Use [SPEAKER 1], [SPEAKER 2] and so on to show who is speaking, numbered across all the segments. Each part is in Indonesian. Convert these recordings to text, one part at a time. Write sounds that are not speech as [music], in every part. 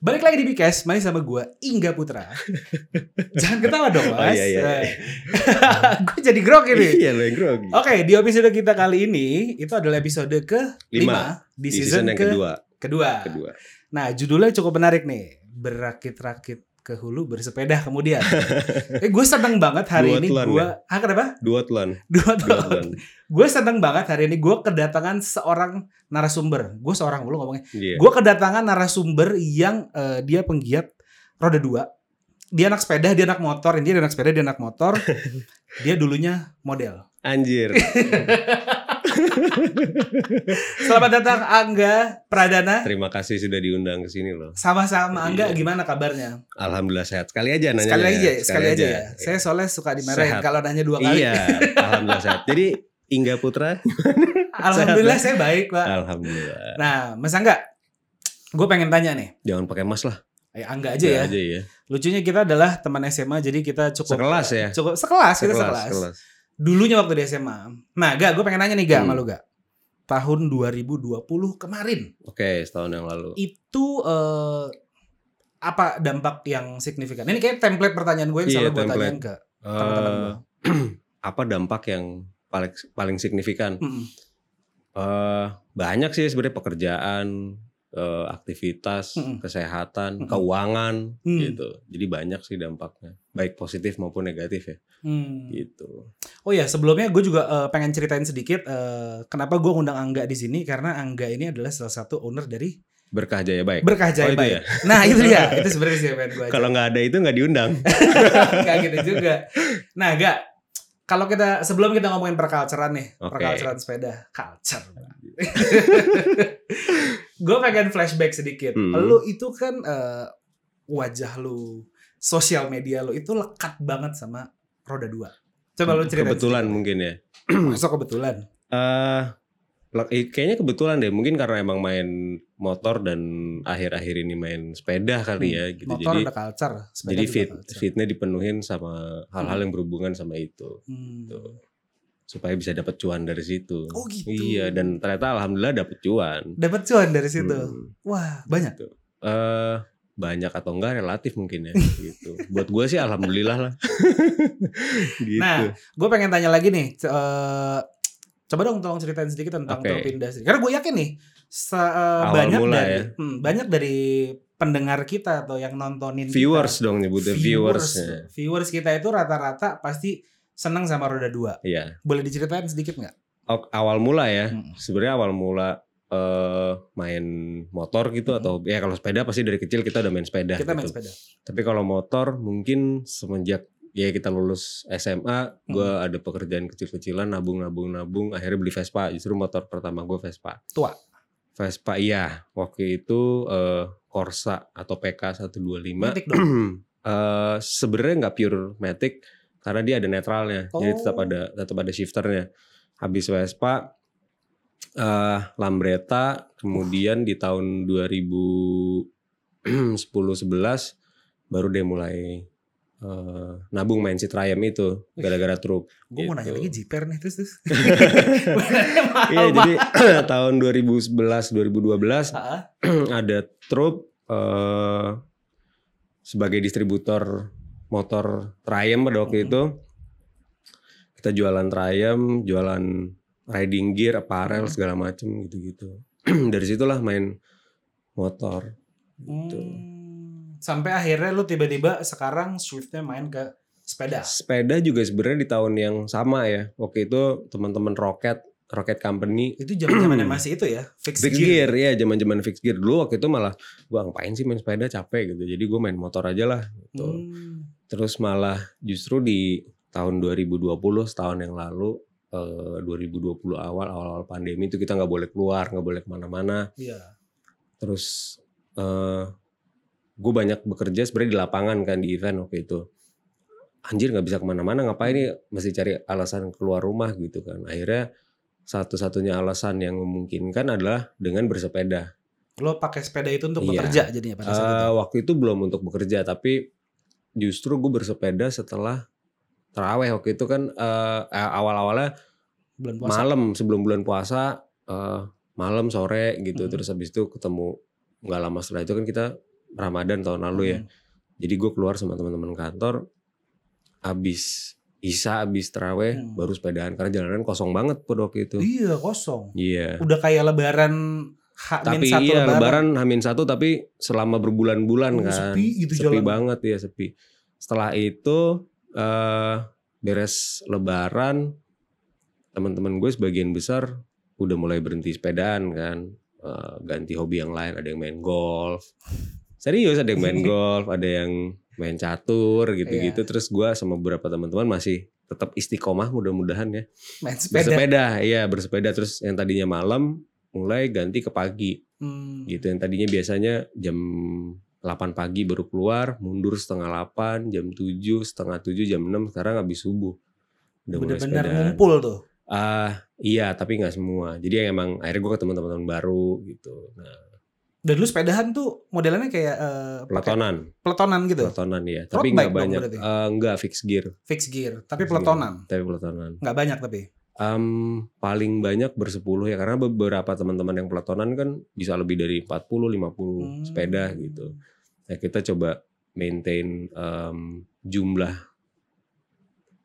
[SPEAKER 1] Balik lagi di Bikes, main sama gue Ingga
[SPEAKER 2] [laughs]
[SPEAKER 1] Putra. Jangan ketawa dong,
[SPEAKER 2] Oh,
[SPEAKER 1] Mas.
[SPEAKER 2] iya, iya,
[SPEAKER 1] [laughs]
[SPEAKER 2] iya.
[SPEAKER 1] gue jadi grok ini.
[SPEAKER 2] Iya lo yang grogi.
[SPEAKER 1] Oke, di episode kita kali ini itu adalah episode ke-5
[SPEAKER 2] Lima.
[SPEAKER 1] di,
[SPEAKER 2] Di
[SPEAKER 1] season,
[SPEAKER 2] season yang
[SPEAKER 1] ke-
[SPEAKER 2] kedua.
[SPEAKER 1] kedua.
[SPEAKER 2] Kedua.
[SPEAKER 1] Nah, judulnya cukup menarik nih. Berakit-rakit ke hulu bersepeda
[SPEAKER 2] [laughs]
[SPEAKER 1] kemudian. eh, gue seneng banget hari ini
[SPEAKER 2] Duatlon,
[SPEAKER 1] gue ah kenapa?
[SPEAKER 2] Duatlon.
[SPEAKER 1] Dua
[SPEAKER 2] Duatlon.
[SPEAKER 1] Gue seneng banget hari ini gue kedatangan seorang narasumber. Gue seorang lu ngomongnya.
[SPEAKER 2] Iya.
[SPEAKER 1] Gue kedatangan narasumber yang eh, dia penggiat roda dua. Dia anak sepeda, dia anak motor. Dia anak sepeda, dia anak
[SPEAKER 2] [laughs]
[SPEAKER 1] motor. dia dulunya model.
[SPEAKER 2] Anjir.
[SPEAKER 1] Selamat datang Angga Pradana.
[SPEAKER 2] Terima kasih sudah diundang ke sini loh.
[SPEAKER 1] Sama-sama Angga,
[SPEAKER 2] Iya.
[SPEAKER 1] gimana kabarnya?
[SPEAKER 2] Alhamdulillah sehat. Sekali aja nanya.
[SPEAKER 1] Sekali aja, sekali aja ya. Saya soalnya suka dimarahin
[SPEAKER 2] Iya. Sehat.
[SPEAKER 1] kalau nanya dua kali.
[SPEAKER 2] Iya, alhamdulillah sehat. Jadi Ingga Putra,
[SPEAKER 1] [laughs] Alhamdulillah saya baik, Pak.
[SPEAKER 2] alhamdulillah.
[SPEAKER 1] Nah, Mas Angga, gue pengen tanya nih.
[SPEAKER 2] Jangan pakai mas lah.
[SPEAKER 1] Eh, Angga aja ya.
[SPEAKER 2] Udah Aja ya.
[SPEAKER 1] Lucunya kita adalah teman SMA, jadi kita cukup
[SPEAKER 2] Sekelas ya.
[SPEAKER 1] cukup sekelas, kita
[SPEAKER 2] Sekelas,
[SPEAKER 1] sekelas.
[SPEAKER 2] sekelas.
[SPEAKER 1] Dulunya waktu di SMA. Nah, Ga, gue pengen nanya nih, Ga, sama
[SPEAKER 2] Hmm.
[SPEAKER 1] lu, Ga. Tahun 2020 kemarin,
[SPEAKER 2] Oke, setahun yang lalu.
[SPEAKER 1] itu eh, apa dampak yang signifikan? Ini kayak template pertanyaan gue yang
[SPEAKER 2] Iya,
[SPEAKER 1] selalu gue
[SPEAKER 2] template.
[SPEAKER 1] tanyain ke teman-teman gue.
[SPEAKER 2] Eh, apa dampak yang paling paling signifikan?
[SPEAKER 1] Mm-mm.
[SPEAKER 2] Eh, banyak sih sebenarnya pekerjaan, eh, aktivitas,
[SPEAKER 1] Mm-mm.
[SPEAKER 2] kesehatan,
[SPEAKER 1] Mm-mm.
[SPEAKER 2] keuangan
[SPEAKER 1] Hmm.
[SPEAKER 2] gitu. Jadi banyak sih dampaknya, baik positif maupun negatif ya.
[SPEAKER 1] Hmm.
[SPEAKER 2] Gitu.
[SPEAKER 1] Oh ya, sebelumnya gue juga eh, pengen ceritain sedikit eh, kenapa gue ngundang Angga di sini karena Angga ini adalah salah satu owner dari
[SPEAKER 2] Berkah jaya baik.
[SPEAKER 1] Berkah Jaya
[SPEAKER 2] Oh, itu
[SPEAKER 1] Baik.
[SPEAKER 2] ya?
[SPEAKER 1] Nah itu dia,
[SPEAKER 2] [laughs]
[SPEAKER 1] itu sebenarnya sih yang pengen gue.
[SPEAKER 2] Kalau nggak ada itu nggak diundang.
[SPEAKER 1] Gak gitu juga. Nah Angga, kalau kita sebelum kita ngomongin perkalceran nih,
[SPEAKER 2] Oke.
[SPEAKER 1] perkalceran sepeda, culture. [laughs] gue pengen flashback sedikit.
[SPEAKER 2] Hmm.
[SPEAKER 1] Lu itu kan eh, wajah lu, sosial media lu itu lekat banget sama roda dua. [laughs] Coba lu ceritain.
[SPEAKER 2] Hmm, kebetulan
[SPEAKER 1] sedikit.
[SPEAKER 2] mungkin ya.
[SPEAKER 1] Masa kebetulan.
[SPEAKER 2] Eh, lak- eh, kayaknya kebetulan deh. Mungkin karena emang main motor dan akhir-akhir ini main sepeda kali
[SPEAKER 1] Hmm,
[SPEAKER 2] ya. Gitu.
[SPEAKER 1] motor
[SPEAKER 2] jadi
[SPEAKER 1] ada culture sepeda
[SPEAKER 2] jadi
[SPEAKER 1] juga Hmm.
[SPEAKER 2] fit
[SPEAKER 1] culture.
[SPEAKER 2] fitnya dipenuhin sama hal-hal yang berhubungan sama itu
[SPEAKER 1] Hmm.
[SPEAKER 2] Tuh. gitu. supaya bisa dapat cuan dari situ.
[SPEAKER 1] oh gitu
[SPEAKER 2] Iya dan ternyata alhamdulillah dapat cuan.
[SPEAKER 1] dapat cuan dari situ
[SPEAKER 2] Hmm.
[SPEAKER 1] wah banyak
[SPEAKER 2] Gitu. Eh, banyak atau enggak relatif
[SPEAKER 1] [laughs]
[SPEAKER 2] mungkin ya gitu. Buat gue sih alhamdulillah lah. gitu.
[SPEAKER 1] nah gue pengen tanya lagi nih c- eh, coba dong tolong ceritain sedikit tentang
[SPEAKER 2] Oke.
[SPEAKER 1] Tropinda sendiri. karena gue yakin nih se- eh,
[SPEAKER 2] Awal
[SPEAKER 1] banyak
[SPEAKER 2] mula
[SPEAKER 1] dari
[SPEAKER 2] ya.
[SPEAKER 1] hmm, banyak dari pendengar kita atau yang nontonin kita.
[SPEAKER 2] viewers dong nyebutnya viewers. ya.
[SPEAKER 1] viewers viewers kita itu rata-rata pasti seneng sama roda dua
[SPEAKER 2] Iya.
[SPEAKER 1] boleh diceritain sedikit nggak
[SPEAKER 2] Aw- awal mula ya.
[SPEAKER 1] Hmm.
[SPEAKER 2] Sebenarnya awal mula eh main motor gitu
[SPEAKER 1] Hmm.
[SPEAKER 2] atau ya kalau sepeda pasti dari kecil kita udah main sepeda
[SPEAKER 1] kita main
[SPEAKER 2] gitu.
[SPEAKER 1] sepeda
[SPEAKER 2] Tapi kalau motor mungkin semenjak ya kita lulus SMA, gue ada pekerjaan kecil-kecilan, nabung-nabung-nabung, akhirnya beli Vespa. Justru motor pertama gue Vespa.
[SPEAKER 1] Tua.
[SPEAKER 2] Vespa iya, waktu itu eh, Corsa atau PK 125.
[SPEAKER 1] Matic dong
[SPEAKER 2] [clears throat] Eh, Sebenarnya nggak pure matic karena dia ada netralnya, jadi
[SPEAKER 1] Oh.
[SPEAKER 2] tetap ada tetap ada shifternya. Habis Vespa, eh Lambretta, kemudian di tahun 2010 11 baru dia mulai eh, nabung main si Triumph itu gara-gara truk.
[SPEAKER 1] gue mau nanya
[SPEAKER 2] gitu.
[SPEAKER 1] lagi jiper nih terus
[SPEAKER 2] [laughs]
[SPEAKER 1] terus
[SPEAKER 2] Iya, jadi [clears throat] tahun 2011 2012
[SPEAKER 1] Heeh.
[SPEAKER 2] ada Trup eh, sebagai distributor motor Triumph pada waktu
[SPEAKER 1] Mhm.
[SPEAKER 2] itu. Kita jualan Triumph, jualan riding gear, apparel
[SPEAKER 1] Mhm.
[SPEAKER 2] segala macem gitu-gitu. [clears throat] Dari situlah main motor. Gitu.
[SPEAKER 1] Hmm. Sampai akhirnya lu tiba-tiba sekarang swiftnya main ke sepeda.
[SPEAKER 2] Sepeda juga sebenarnya di tahun yang sama ya. Waktu itu teman-teman Rocket, Rocket Company
[SPEAKER 1] Itu
[SPEAKER 2] [clears throat]
[SPEAKER 1] zaman-zamannya masih itu ya, fixed,
[SPEAKER 2] Fix
[SPEAKER 1] gear.
[SPEAKER 2] gear, ya zaman-zaman fix gear dulu waktu itu malah gua ngapain sih main sepeda capek gitu. Jadi gue main motor aja lah gitu.
[SPEAKER 1] Hmm.
[SPEAKER 2] Terus malah justru di tahun 2020 setahun yang lalu eh, 2020 awal awal-awal pandemi itu kita nggak boleh keluar nggak boleh kemana-mana.
[SPEAKER 1] Iya.
[SPEAKER 2] Terus eh gue banyak bekerja sebenarnya di lapangan kan di event waktu itu. Anjir nggak bisa kemana-mana ngapain nih mesti cari alasan keluar rumah gitu kan. Akhirnya satu-satunya alasan yang memungkinkan adalah dengan bersepeda.
[SPEAKER 1] Lo pakai sepeda itu untuk
[SPEAKER 2] Iya.
[SPEAKER 1] bekerja jadinya pada saat
[SPEAKER 2] Eh,
[SPEAKER 1] itu.
[SPEAKER 2] waktu itu belum untuk bekerja tapi justru gue bersepeda setelah teraweh waktu itu kan eh, eh, awal-awalnya
[SPEAKER 1] Bulan puasa.
[SPEAKER 2] malam sebelum bulan puasa eh, malam sore gitu
[SPEAKER 1] Mhm.
[SPEAKER 2] terus habis itu ketemu nggak lama setelah itu kan kita Ramadan tahun lalu ya.
[SPEAKER 1] Hmm.
[SPEAKER 2] Jadi gue keluar sama teman-teman kantor, abis Isa abis teraweh
[SPEAKER 1] Hmm.
[SPEAKER 2] baru sepedaan karena jalanan kosong banget pada waktu itu.
[SPEAKER 1] Iya kosong.
[SPEAKER 2] Iya.
[SPEAKER 1] Udah kayak lebaran H
[SPEAKER 2] Tapi
[SPEAKER 1] satu
[SPEAKER 2] iya Lebaran Hamin satu tapi selama berbulan-bulan
[SPEAKER 1] Oh,
[SPEAKER 2] kan.
[SPEAKER 1] sepi gitu
[SPEAKER 2] sepi
[SPEAKER 1] jalan.
[SPEAKER 2] banget ya sepi. Setelah itu eh beres Lebaran teman-teman gue sebagian besar udah mulai berhenti sepedaan kan, Eh, ganti hobi yang lain. Ada yang main golf. Serius ada yang
[SPEAKER 1] [laughs]
[SPEAKER 2] main golf, ada yang main catur
[SPEAKER 1] Iya.
[SPEAKER 2] gitu-gitu. Terus gue sama beberapa teman-teman masih tetap istiqomah mudah-mudahan ya
[SPEAKER 1] main sepeda.
[SPEAKER 2] bersepeda iya bersepeda terus yang tadinya malam mulai ganti ke pagi
[SPEAKER 1] Hmm.
[SPEAKER 2] gitu yang tadinya biasanya jam 8 pagi baru keluar mundur setengah 8 jam 7 setengah 7 jam 6 sekarang habis subuh udah mulai
[SPEAKER 1] Bener-bener
[SPEAKER 2] sepedaan.
[SPEAKER 1] ngumpul tuh.
[SPEAKER 2] ah iya tapi nggak semua jadi emang akhirnya gue ketemu teman-teman baru gitu nah,
[SPEAKER 1] Dan dulu sepedahan tuh modelannya kayak eh, pakai
[SPEAKER 2] pelatonan
[SPEAKER 1] peletonan gitu,
[SPEAKER 2] pelatonan ya
[SPEAKER 1] Road
[SPEAKER 2] tapi
[SPEAKER 1] bike
[SPEAKER 2] nggak
[SPEAKER 1] dong
[SPEAKER 2] banyak
[SPEAKER 1] berarti?
[SPEAKER 2] Eh, nggak fix gear
[SPEAKER 1] fix gear, tapi
[SPEAKER 2] Fix gear.
[SPEAKER 1] peletonan.
[SPEAKER 2] tapi pelatonan
[SPEAKER 1] Nggak banyak tapi.
[SPEAKER 2] Em, paling banyak bersepuluh ya karena beberapa teman-teman yang pelatonan kan bisa lebih dari 40 50
[SPEAKER 1] Hmm.
[SPEAKER 2] sepeda gitu. Nah, kita coba maintain em, jumlah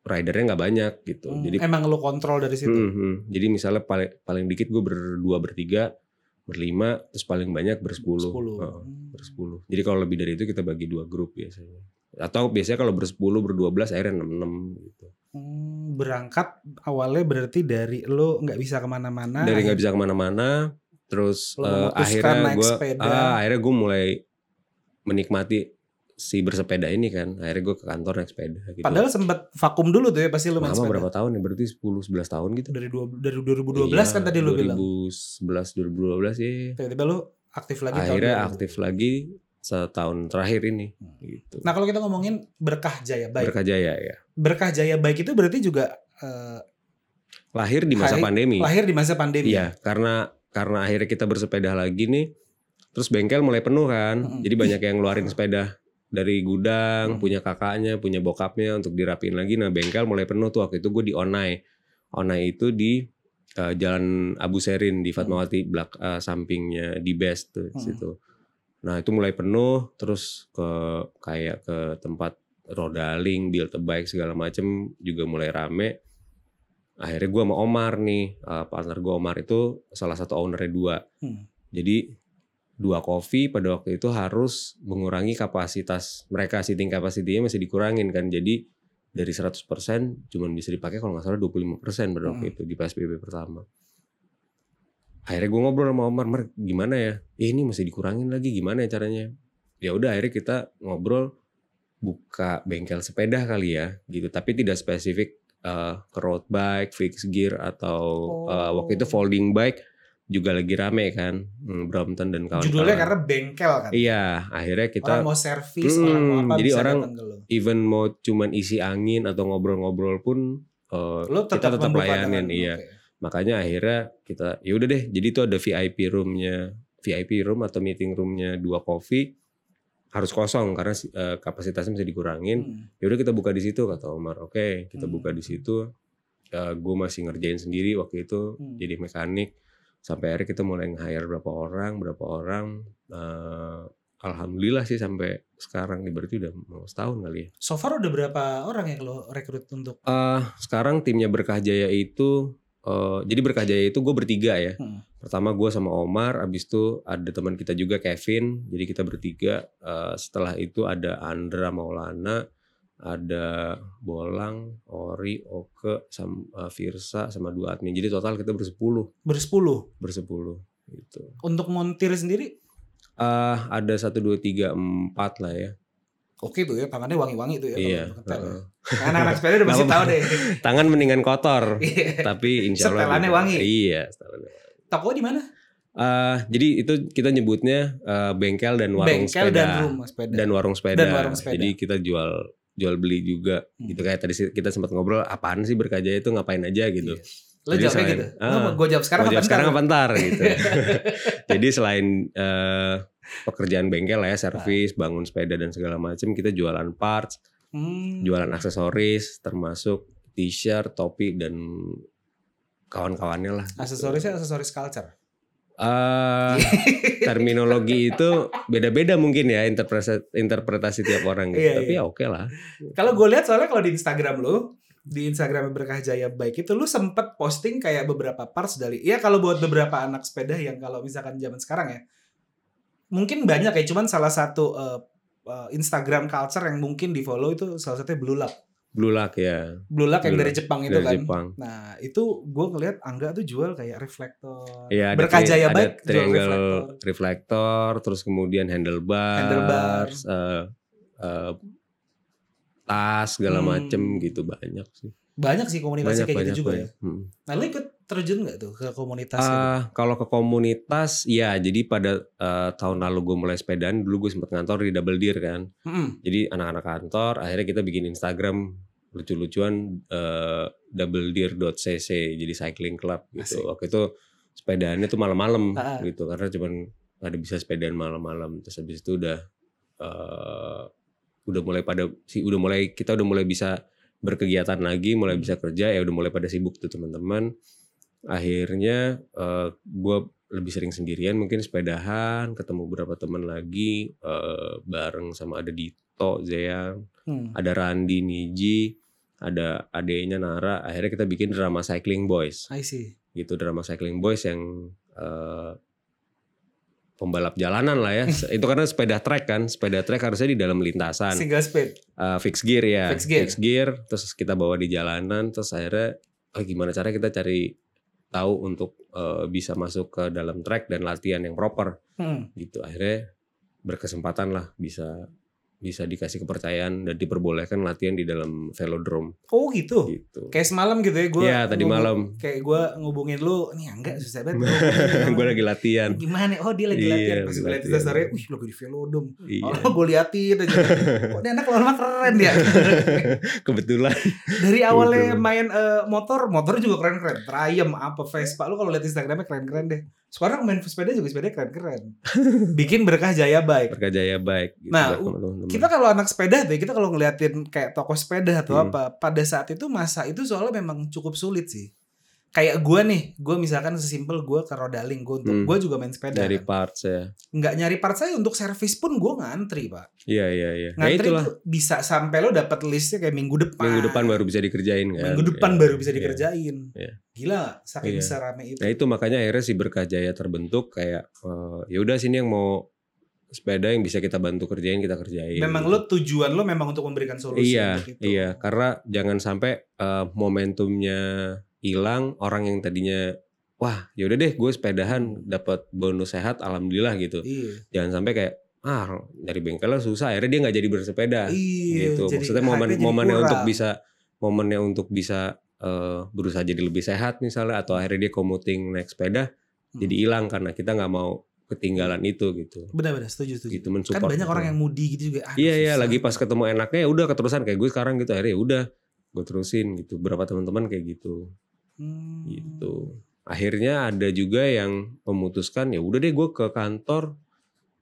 [SPEAKER 2] ridernya nggak banyak gitu.
[SPEAKER 1] Hmm, gitu.
[SPEAKER 2] Jadi
[SPEAKER 1] emang lo kontrol dari situ.
[SPEAKER 2] Hmm, hmm. jadi misalnya paling paling dikit gue berdua bertiga berlima terus paling banyak bersepuluh.
[SPEAKER 1] Sepuluh.
[SPEAKER 2] Heeh,
[SPEAKER 1] Hmm.
[SPEAKER 2] bersepuluh. Jadi kalau lebih dari itu kita bagi dua grup biasanya. Atau biasanya kalau bersepuluh berdua belas akhirnya enam enam gitu.
[SPEAKER 1] Hmm, berangkat awalnya berarti dari lo nggak bisa kemana-mana.
[SPEAKER 2] dari nggak bisa kemana-mana terus
[SPEAKER 1] Nah, Lo
[SPEAKER 2] eh,
[SPEAKER 1] memutuskan
[SPEAKER 2] akhirnya
[SPEAKER 1] naik
[SPEAKER 2] gue
[SPEAKER 1] sepeda.
[SPEAKER 2] akhirnya gue mulai menikmati si bersepeda ini kan akhirnya gue ke kantor naik sepeda gitu
[SPEAKER 1] Padahal sempat vakum dulu tuh ya pasti lo main
[SPEAKER 2] lama
[SPEAKER 1] sepeda.
[SPEAKER 2] berapa tahun ya berarti 10 11 tahun gitu
[SPEAKER 1] Dari dua, dari 2012
[SPEAKER 2] Iya,
[SPEAKER 1] kan tadi lo bilang.
[SPEAKER 2] 2011 2012 ya
[SPEAKER 1] Tiba-tiba lo aktif lagi tahun
[SPEAKER 2] akhirnya
[SPEAKER 1] 2000.
[SPEAKER 2] aktif lagi setahun terakhir ini gitu
[SPEAKER 1] Nah kalau kita ngomongin berkah jaya baik,
[SPEAKER 2] berkah jaya ya
[SPEAKER 1] berkah jaya baik itu berarti juga eh,
[SPEAKER 2] lahir di masa
[SPEAKER 1] Lahir-
[SPEAKER 2] pandemi
[SPEAKER 1] lahir di masa pandemi.
[SPEAKER 2] Iya, karena karena akhirnya kita bersepeda lagi nih, terus bengkel mulai penuh kan,
[SPEAKER 1] Mm-mm.
[SPEAKER 2] jadi banyak yang ngeluarin sepeda dari gudang,
[SPEAKER 1] Mm.
[SPEAKER 2] punya kakaknya, punya bokapnya untuk dirapiin lagi. Nah bengkel mulai penuh tuh waktu itu gue di Onai, Onai itu di eh, Jalan Abu Serin di Fatmawati belak eh, sampingnya di Best tuh di
[SPEAKER 1] Mm.
[SPEAKER 2] situ. Nah itu mulai penuh, terus ke kayak ke tempat rodaling, build a bike segala macem juga mulai rame akhirnya gue sama Omar nih eh, partner gue Omar itu salah satu ownernya dua
[SPEAKER 1] Hmm.
[SPEAKER 2] jadi dua coffee pada waktu itu harus mengurangi kapasitas mereka seating capacity-nya masih dikurangin kan jadi dari 100% cuman bisa dipakai kalau nggak salah 25% pada waktu
[SPEAKER 1] Hmm.
[SPEAKER 2] itu di PSBB pertama akhirnya gue ngobrol sama Omar Mar gimana ya "Eh, ini masih dikurangin lagi gimana ya caranya ya udah akhirnya kita ngobrol buka bengkel sepeda kali ya gitu tapi tidak spesifik eh, ke road bike, fixed gear atau eh, waktu itu
[SPEAKER 1] Oh.
[SPEAKER 2] folding bike juga lagi rame kan hmm, Brompton dan kawan-kawan.
[SPEAKER 1] Judulnya karena bengkel kan.
[SPEAKER 2] iya akhirnya kita
[SPEAKER 1] orang mau servis,
[SPEAKER 2] Hmm,
[SPEAKER 1] orang mau apa
[SPEAKER 2] jadi
[SPEAKER 1] bisa
[SPEAKER 2] orang-
[SPEAKER 1] datang ke lo.
[SPEAKER 2] even mau cuman isi angin atau ngobrol-ngobrol pun eh,
[SPEAKER 1] Lo
[SPEAKER 2] kita tetap
[SPEAKER 1] membuka
[SPEAKER 2] layanin,
[SPEAKER 1] dengan-
[SPEAKER 2] iya.
[SPEAKER 1] kan? oke.
[SPEAKER 2] makanya akhirnya kita ya udah deh jadi itu ada VIP roomnya VIP room atau meeting roomnya dua coffee harus kosong karena eh, kapasitasnya bisa dikurangin
[SPEAKER 1] Hmm.
[SPEAKER 2] yaudah Ya kita buka di situ kata Omar oke kita
[SPEAKER 1] Hmm.
[SPEAKER 2] buka di situ gue masih ngerjain sendiri waktu itu
[SPEAKER 1] Hmm.
[SPEAKER 2] jadi mekanik sampai akhirnya kita mulai nge-hire berapa orang berapa orang Eh, alhamdulillah sih sampai sekarang nih berarti udah mau setahun kali ya
[SPEAKER 1] So far udah berapa orang yang lo rekrut untuk
[SPEAKER 2] Eh, sekarang timnya Berkah Jaya itu eh, jadi Berkah Jaya itu gue bertiga ya
[SPEAKER 1] Hmm.
[SPEAKER 2] pertama gue sama Omar abis itu ada teman kita juga Kevin jadi kita bertiga Eh, setelah itu ada Andra Maulana ada Bolang Ori Oke sama eh, Firsa sama dua admin jadi total kita bersepuluh
[SPEAKER 1] bersepuluh?
[SPEAKER 2] bersepuluh gitu
[SPEAKER 1] Untuk montir sendiri
[SPEAKER 2] Eh, ada satu dua tiga empat lah ya
[SPEAKER 1] Oke tuh ya, tangannya wangi-wangi tuh ya. kalau
[SPEAKER 2] iya
[SPEAKER 1] untuk ngetel ya.
[SPEAKER 2] heeh.
[SPEAKER 1] Anak-anak sepeda
[SPEAKER 2] [laughs]
[SPEAKER 1] udah pasti
[SPEAKER 2] Nggak
[SPEAKER 1] tahu deh. [laughs]
[SPEAKER 2] tangan mendingan kotor
[SPEAKER 1] Iya.
[SPEAKER 2] tapi insya Allah
[SPEAKER 1] Setelannya
[SPEAKER 2] juga-
[SPEAKER 1] wangi.
[SPEAKER 2] iya setelannya
[SPEAKER 1] Toko di mana?
[SPEAKER 2] Eh, jadi itu kita nyebutnya eh, bengkel dan warung
[SPEAKER 1] Bengkel
[SPEAKER 2] sepeda
[SPEAKER 1] dan rumah sepeda.
[SPEAKER 2] dan warung sepeda.
[SPEAKER 1] Dan warung sepeda.
[SPEAKER 2] Jadi kita jual jual beli juga
[SPEAKER 1] Hmm.
[SPEAKER 2] gitu kayak tadi sih kita sempat ngobrol apaan sih berkajaya itu ngapain aja gitu.
[SPEAKER 1] Iya. Lo
[SPEAKER 2] Jadi
[SPEAKER 1] jawabnya
[SPEAKER 2] selain-
[SPEAKER 1] gitu.
[SPEAKER 2] Ah.
[SPEAKER 1] Lo mau gue jawab sekarang
[SPEAKER 2] Mau jawab
[SPEAKER 1] apa
[SPEAKER 2] sekarang
[SPEAKER 1] ntar?
[SPEAKER 2] apa ntar
[SPEAKER 1] [laughs]
[SPEAKER 2] gitu. Jadi selain eh, pekerjaan bengkel lah ya, servis, bangun sepeda dan segala macam, kita jualan parts,
[SPEAKER 1] Hmm.
[SPEAKER 2] jualan aksesoris termasuk t-shirt, topi dan kawan-kawannya lah.
[SPEAKER 1] Aksesorisnya aksesoris culture. [laughs]
[SPEAKER 2] Eh, eh, terminologi itu beda-beda mungkin ya interpretasi interpretasi tiap orang gitu.
[SPEAKER 1] Iya,
[SPEAKER 2] Tapi
[SPEAKER 1] iya.
[SPEAKER 2] ya oke lah.
[SPEAKER 1] Kalau gue lihat soalnya kalau di Instagram lu, di Instagram Berkah Jaya Baik itu lu sempet posting kayak beberapa parts dari ya kalau buat beberapa anak sepeda yang kalau misalkan zaman sekarang ya. Mungkin banyak ya, cuman salah satu eh, eh, Instagram culture yang mungkin di-follow itu salah satunya Blue Lock.
[SPEAKER 2] Blue Lock ya
[SPEAKER 1] Blue Lock yang
[SPEAKER 2] Blue
[SPEAKER 1] dari Jepang itu
[SPEAKER 2] dari
[SPEAKER 1] kan.
[SPEAKER 2] Jepang.
[SPEAKER 1] Nah, itu gue ngelihat Angga tuh jual kayak reflektor.
[SPEAKER 2] Iya, ada
[SPEAKER 1] Berkah
[SPEAKER 2] tri-
[SPEAKER 1] Jaya
[SPEAKER 2] ada
[SPEAKER 1] Baik jual
[SPEAKER 2] triangle
[SPEAKER 1] reflektor.
[SPEAKER 2] reflektor. terus kemudian handlebar,
[SPEAKER 1] Handlebar.
[SPEAKER 2] eh, eh, tas segala
[SPEAKER 1] Hmm.
[SPEAKER 2] macem gitu banyak sih.
[SPEAKER 1] Banyak sih komunikasi
[SPEAKER 2] banyak
[SPEAKER 1] kayak
[SPEAKER 2] banyak.
[SPEAKER 1] gitu juga ya.
[SPEAKER 2] banyak. Hmm.
[SPEAKER 1] Nah, lu ikut terjun nggak tuh ke komunitas? gitu?
[SPEAKER 2] Ah, kalau ke komunitas, ya jadi pada eh, tahun lalu gue mulai sepedaan, dulu gue sempat ngantor di Double Deer kan.
[SPEAKER 1] Mm-mm.
[SPEAKER 2] Jadi anak-anak kantor, akhirnya kita bikin Instagram lucu-lucuan eh, doubledeer.cc jadi cycling club gitu.
[SPEAKER 1] Asik.
[SPEAKER 2] Waktu itu sepedaannya tuh malam-malam
[SPEAKER 1] Ah, ah.
[SPEAKER 2] gitu karena cuman ada bisa sepedaan malam-malam. Terus habis itu udah eh, udah mulai pada sih udah mulai kita udah mulai bisa berkegiatan lagi, mulai
[SPEAKER 1] Hmm.
[SPEAKER 2] bisa kerja ya udah mulai pada sibuk tuh teman-teman. Akhirnya eh, gue lebih sering sendirian mungkin sepedahan, ketemu beberapa teman lagi eh, bareng sama ada Dito, Zeyang,
[SPEAKER 1] Hmm.
[SPEAKER 2] ada Randi, Niji, ada adeknya Nara. Akhirnya kita bikin drama Cycling Boys.
[SPEAKER 1] I see.
[SPEAKER 2] Gitu drama Cycling Boys yang eh, pembalap jalanan lah
[SPEAKER 1] [laughs]
[SPEAKER 2] ya. Itu karena sepeda trek kan, sepeda trek harusnya di dalam lintasan.
[SPEAKER 1] Single speed.
[SPEAKER 2] Eh, fix gear ya,
[SPEAKER 1] Fix gear.
[SPEAKER 2] terus kita bawa di jalanan, terus akhirnya oh, gimana cara kita cari tahu untuk eh, bisa masuk ke dalam track dan latihan yang proper
[SPEAKER 1] Hmm.
[SPEAKER 2] gitu. Akhirnya berkesempatan lah bisa bisa dikasih kepercayaan dan diperbolehkan latihan di dalam velodrome
[SPEAKER 1] Oh gitu. [laughs]
[SPEAKER 2] gitu. [laughs]
[SPEAKER 1] Kayak semalam gitu ya gue.
[SPEAKER 2] Iya tadi malam
[SPEAKER 1] Kayak gue ngubungin lu, nih enggak susah
[SPEAKER 2] [laughs]
[SPEAKER 1] banget.
[SPEAKER 2] gue lagi latihan.
[SPEAKER 1] Gimana? Oh dia lagi
[SPEAKER 2] Iya,
[SPEAKER 1] latihan. Pas gue liat
[SPEAKER 2] latihan.
[SPEAKER 1] instastory, wih lagi di velodom.
[SPEAKER 2] Iya.
[SPEAKER 1] Oh gue liatin aja. Kok dia anak lama keren
[SPEAKER 2] [laughs]
[SPEAKER 1] ya.
[SPEAKER 2] Kebetulan
[SPEAKER 1] Dari awalnya
[SPEAKER 2] Betul.
[SPEAKER 1] main eh, motor, motor juga keren-keren. Triumph apa Vespa, lu kalau liat Instagramnya keren-keren deh. Sekarang main sepeda juga sepeda
[SPEAKER 2] [laughs]
[SPEAKER 1] keren-keren. Bikin berkah jaya baik.
[SPEAKER 2] berkajaya baik. Gitu,
[SPEAKER 1] Nah,
[SPEAKER 2] buat teman-teman.
[SPEAKER 1] Kita kalau anak sepeda tuh, ya, kita kalau ngeliatin kayak toko sepeda atau
[SPEAKER 2] Hmm.
[SPEAKER 1] apa, pada saat itu masa itu soalnya memang cukup sulit sih. Kayak gue nih, gue misalkan sesimpel gue ke Rodaling, gue untuk
[SPEAKER 2] Hmm.
[SPEAKER 1] gue juga main sepeda.
[SPEAKER 2] dari
[SPEAKER 1] kan.
[SPEAKER 2] parts ya.
[SPEAKER 1] Nggak nyari part saya untuk servis pun gue ngantri pak.
[SPEAKER 2] Iya iya iya. Nah
[SPEAKER 1] Ngantri
[SPEAKER 2] itulah
[SPEAKER 1] tuh bisa sampai lo dapat listnya kayak minggu depan.
[SPEAKER 2] minggu depan baru bisa dikerjain kan.
[SPEAKER 1] Minggu depan
[SPEAKER 2] Iya,
[SPEAKER 1] baru bisa
[SPEAKER 2] iya.
[SPEAKER 1] dikerjain.
[SPEAKER 2] Iya.
[SPEAKER 1] Gila, saking
[SPEAKER 2] Iya.
[SPEAKER 1] bisa rame itu.
[SPEAKER 2] Nah itu makanya akhirnya si Berkah Jaya terbentuk kayak eh, ya udah sini yang mau sepeda yang bisa kita bantu kerjain kita kerjain.
[SPEAKER 1] memang
[SPEAKER 2] gitu.
[SPEAKER 1] lo tujuan lo memang untuk memberikan solusi
[SPEAKER 2] iya
[SPEAKER 1] untuk itu.
[SPEAKER 2] iya karena jangan sampai eh, momentumnya hilang orang yang tadinya wah ya udah deh gue sepedahan dapat bonus sehat alhamdulillah gitu.
[SPEAKER 1] Iya.
[SPEAKER 2] Jangan sampai kayak ah dari bengkelnya susah akhirnya dia nggak jadi bersepeda
[SPEAKER 1] Iya,
[SPEAKER 2] gitu.
[SPEAKER 1] jadi
[SPEAKER 2] Maksudnya momen
[SPEAKER 1] hype-nya jadi
[SPEAKER 2] momennya
[SPEAKER 1] kurang.
[SPEAKER 2] untuk bisa momennya untuk bisa eh, berusaha jadi lebih sehat misalnya atau akhirnya dia commuting naik sepeda
[SPEAKER 1] Hmm.
[SPEAKER 2] jadi hilang karena kita nggak mau ketinggalan itu gitu.
[SPEAKER 1] benar-benar setuju setuju.
[SPEAKER 2] Gitu mensupport.
[SPEAKER 1] kan banyak
[SPEAKER 2] gitu.
[SPEAKER 1] orang yang mudi gitu juga.
[SPEAKER 2] Iya iya lagi pas ketemu enaknya ya udah keterusan kayak gue sekarang gitu akhirnya ya udah gue terusin gitu. Berapa teman-teman kayak gitu
[SPEAKER 1] Hmm.
[SPEAKER 2] gitu. Akhirnya ada juga yang memutuskan ya udah deh gue ke kantor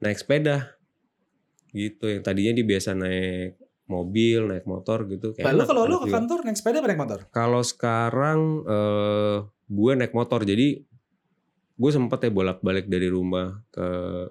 [SPEAKER 2] naik sepeda gitu yang tadinya dia biasa naik mobil naik motor gitu kayak
[SPEAKER 1] Lalu
[SPEAKER 2] enak,
[SPEAKER 1] kalau
[SPEAKER 2] enak
[SPEAKER 1] lo ke
[SPEAKER 2] juga.
[SPEAKER 1] kantor naik sepeda apa naik motor?
[SPEAKER 2] kalau sekarang eh, gue naik motor jadi gue sempet ya bolak-balik dari rumah ke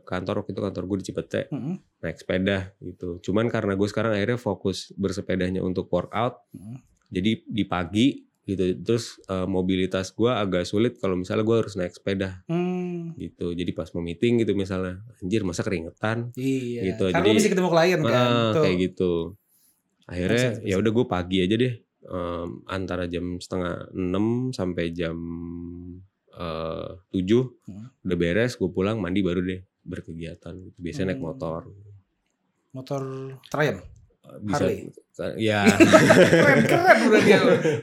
[SPEAKER 2] kantor waktu itu kantor gue di Cipete
[SPEAKER 1] Mm-mm.
[SPEAKER 2] naik sepeda gitu cuman karena gue sekarang akhirnya fokus bersepedanya untuk workout
[SPEAKER 1] Mm.
[SPEAKER 2] jadi di pagi gitu terus eh, mobilitas gue agak sulit kalau misalnya gue harus naik sepeda
[SPEAKER 1] Hmm,
[SPEAKER 2] gitu jadi pas mau meeting gitu misalnya anjir masa keringetan
[SPEAKER 1] iya.
[SPEAKER 2] Gitu,
[SPEAKER 1] Karena lo
[SPEAKER 2] jadi-
[SPEAKER 1] mesti ketemu klien kan.
[SPEAKER 2] Ah,
[SPEAKER 1] tuh.
[SPEAKER 2] kayak gitu. Akhirnya
[SPEAKER 1] Makes sense,
[SPEAKER 2] ya udah gue pagi aja deh Em, antara jam setengah 6 sampai jam eh, 7
[SPEAKER 1] Hmm.
[SPEAKER 2] udah beres gue pulang mandi baru deh berkegiatan gitu. Biasanya naik
[SPEAKER 1] Hmm.
[SPEAKER 2] motor.
[SPEAKER 1] Motor Triumph.
[SPEAKER 2] Bisa
[SPEAKER 1] Harley.
[SPEAKER 2] ya
[SPEAKER 1] [laughs] keren keren udah dia.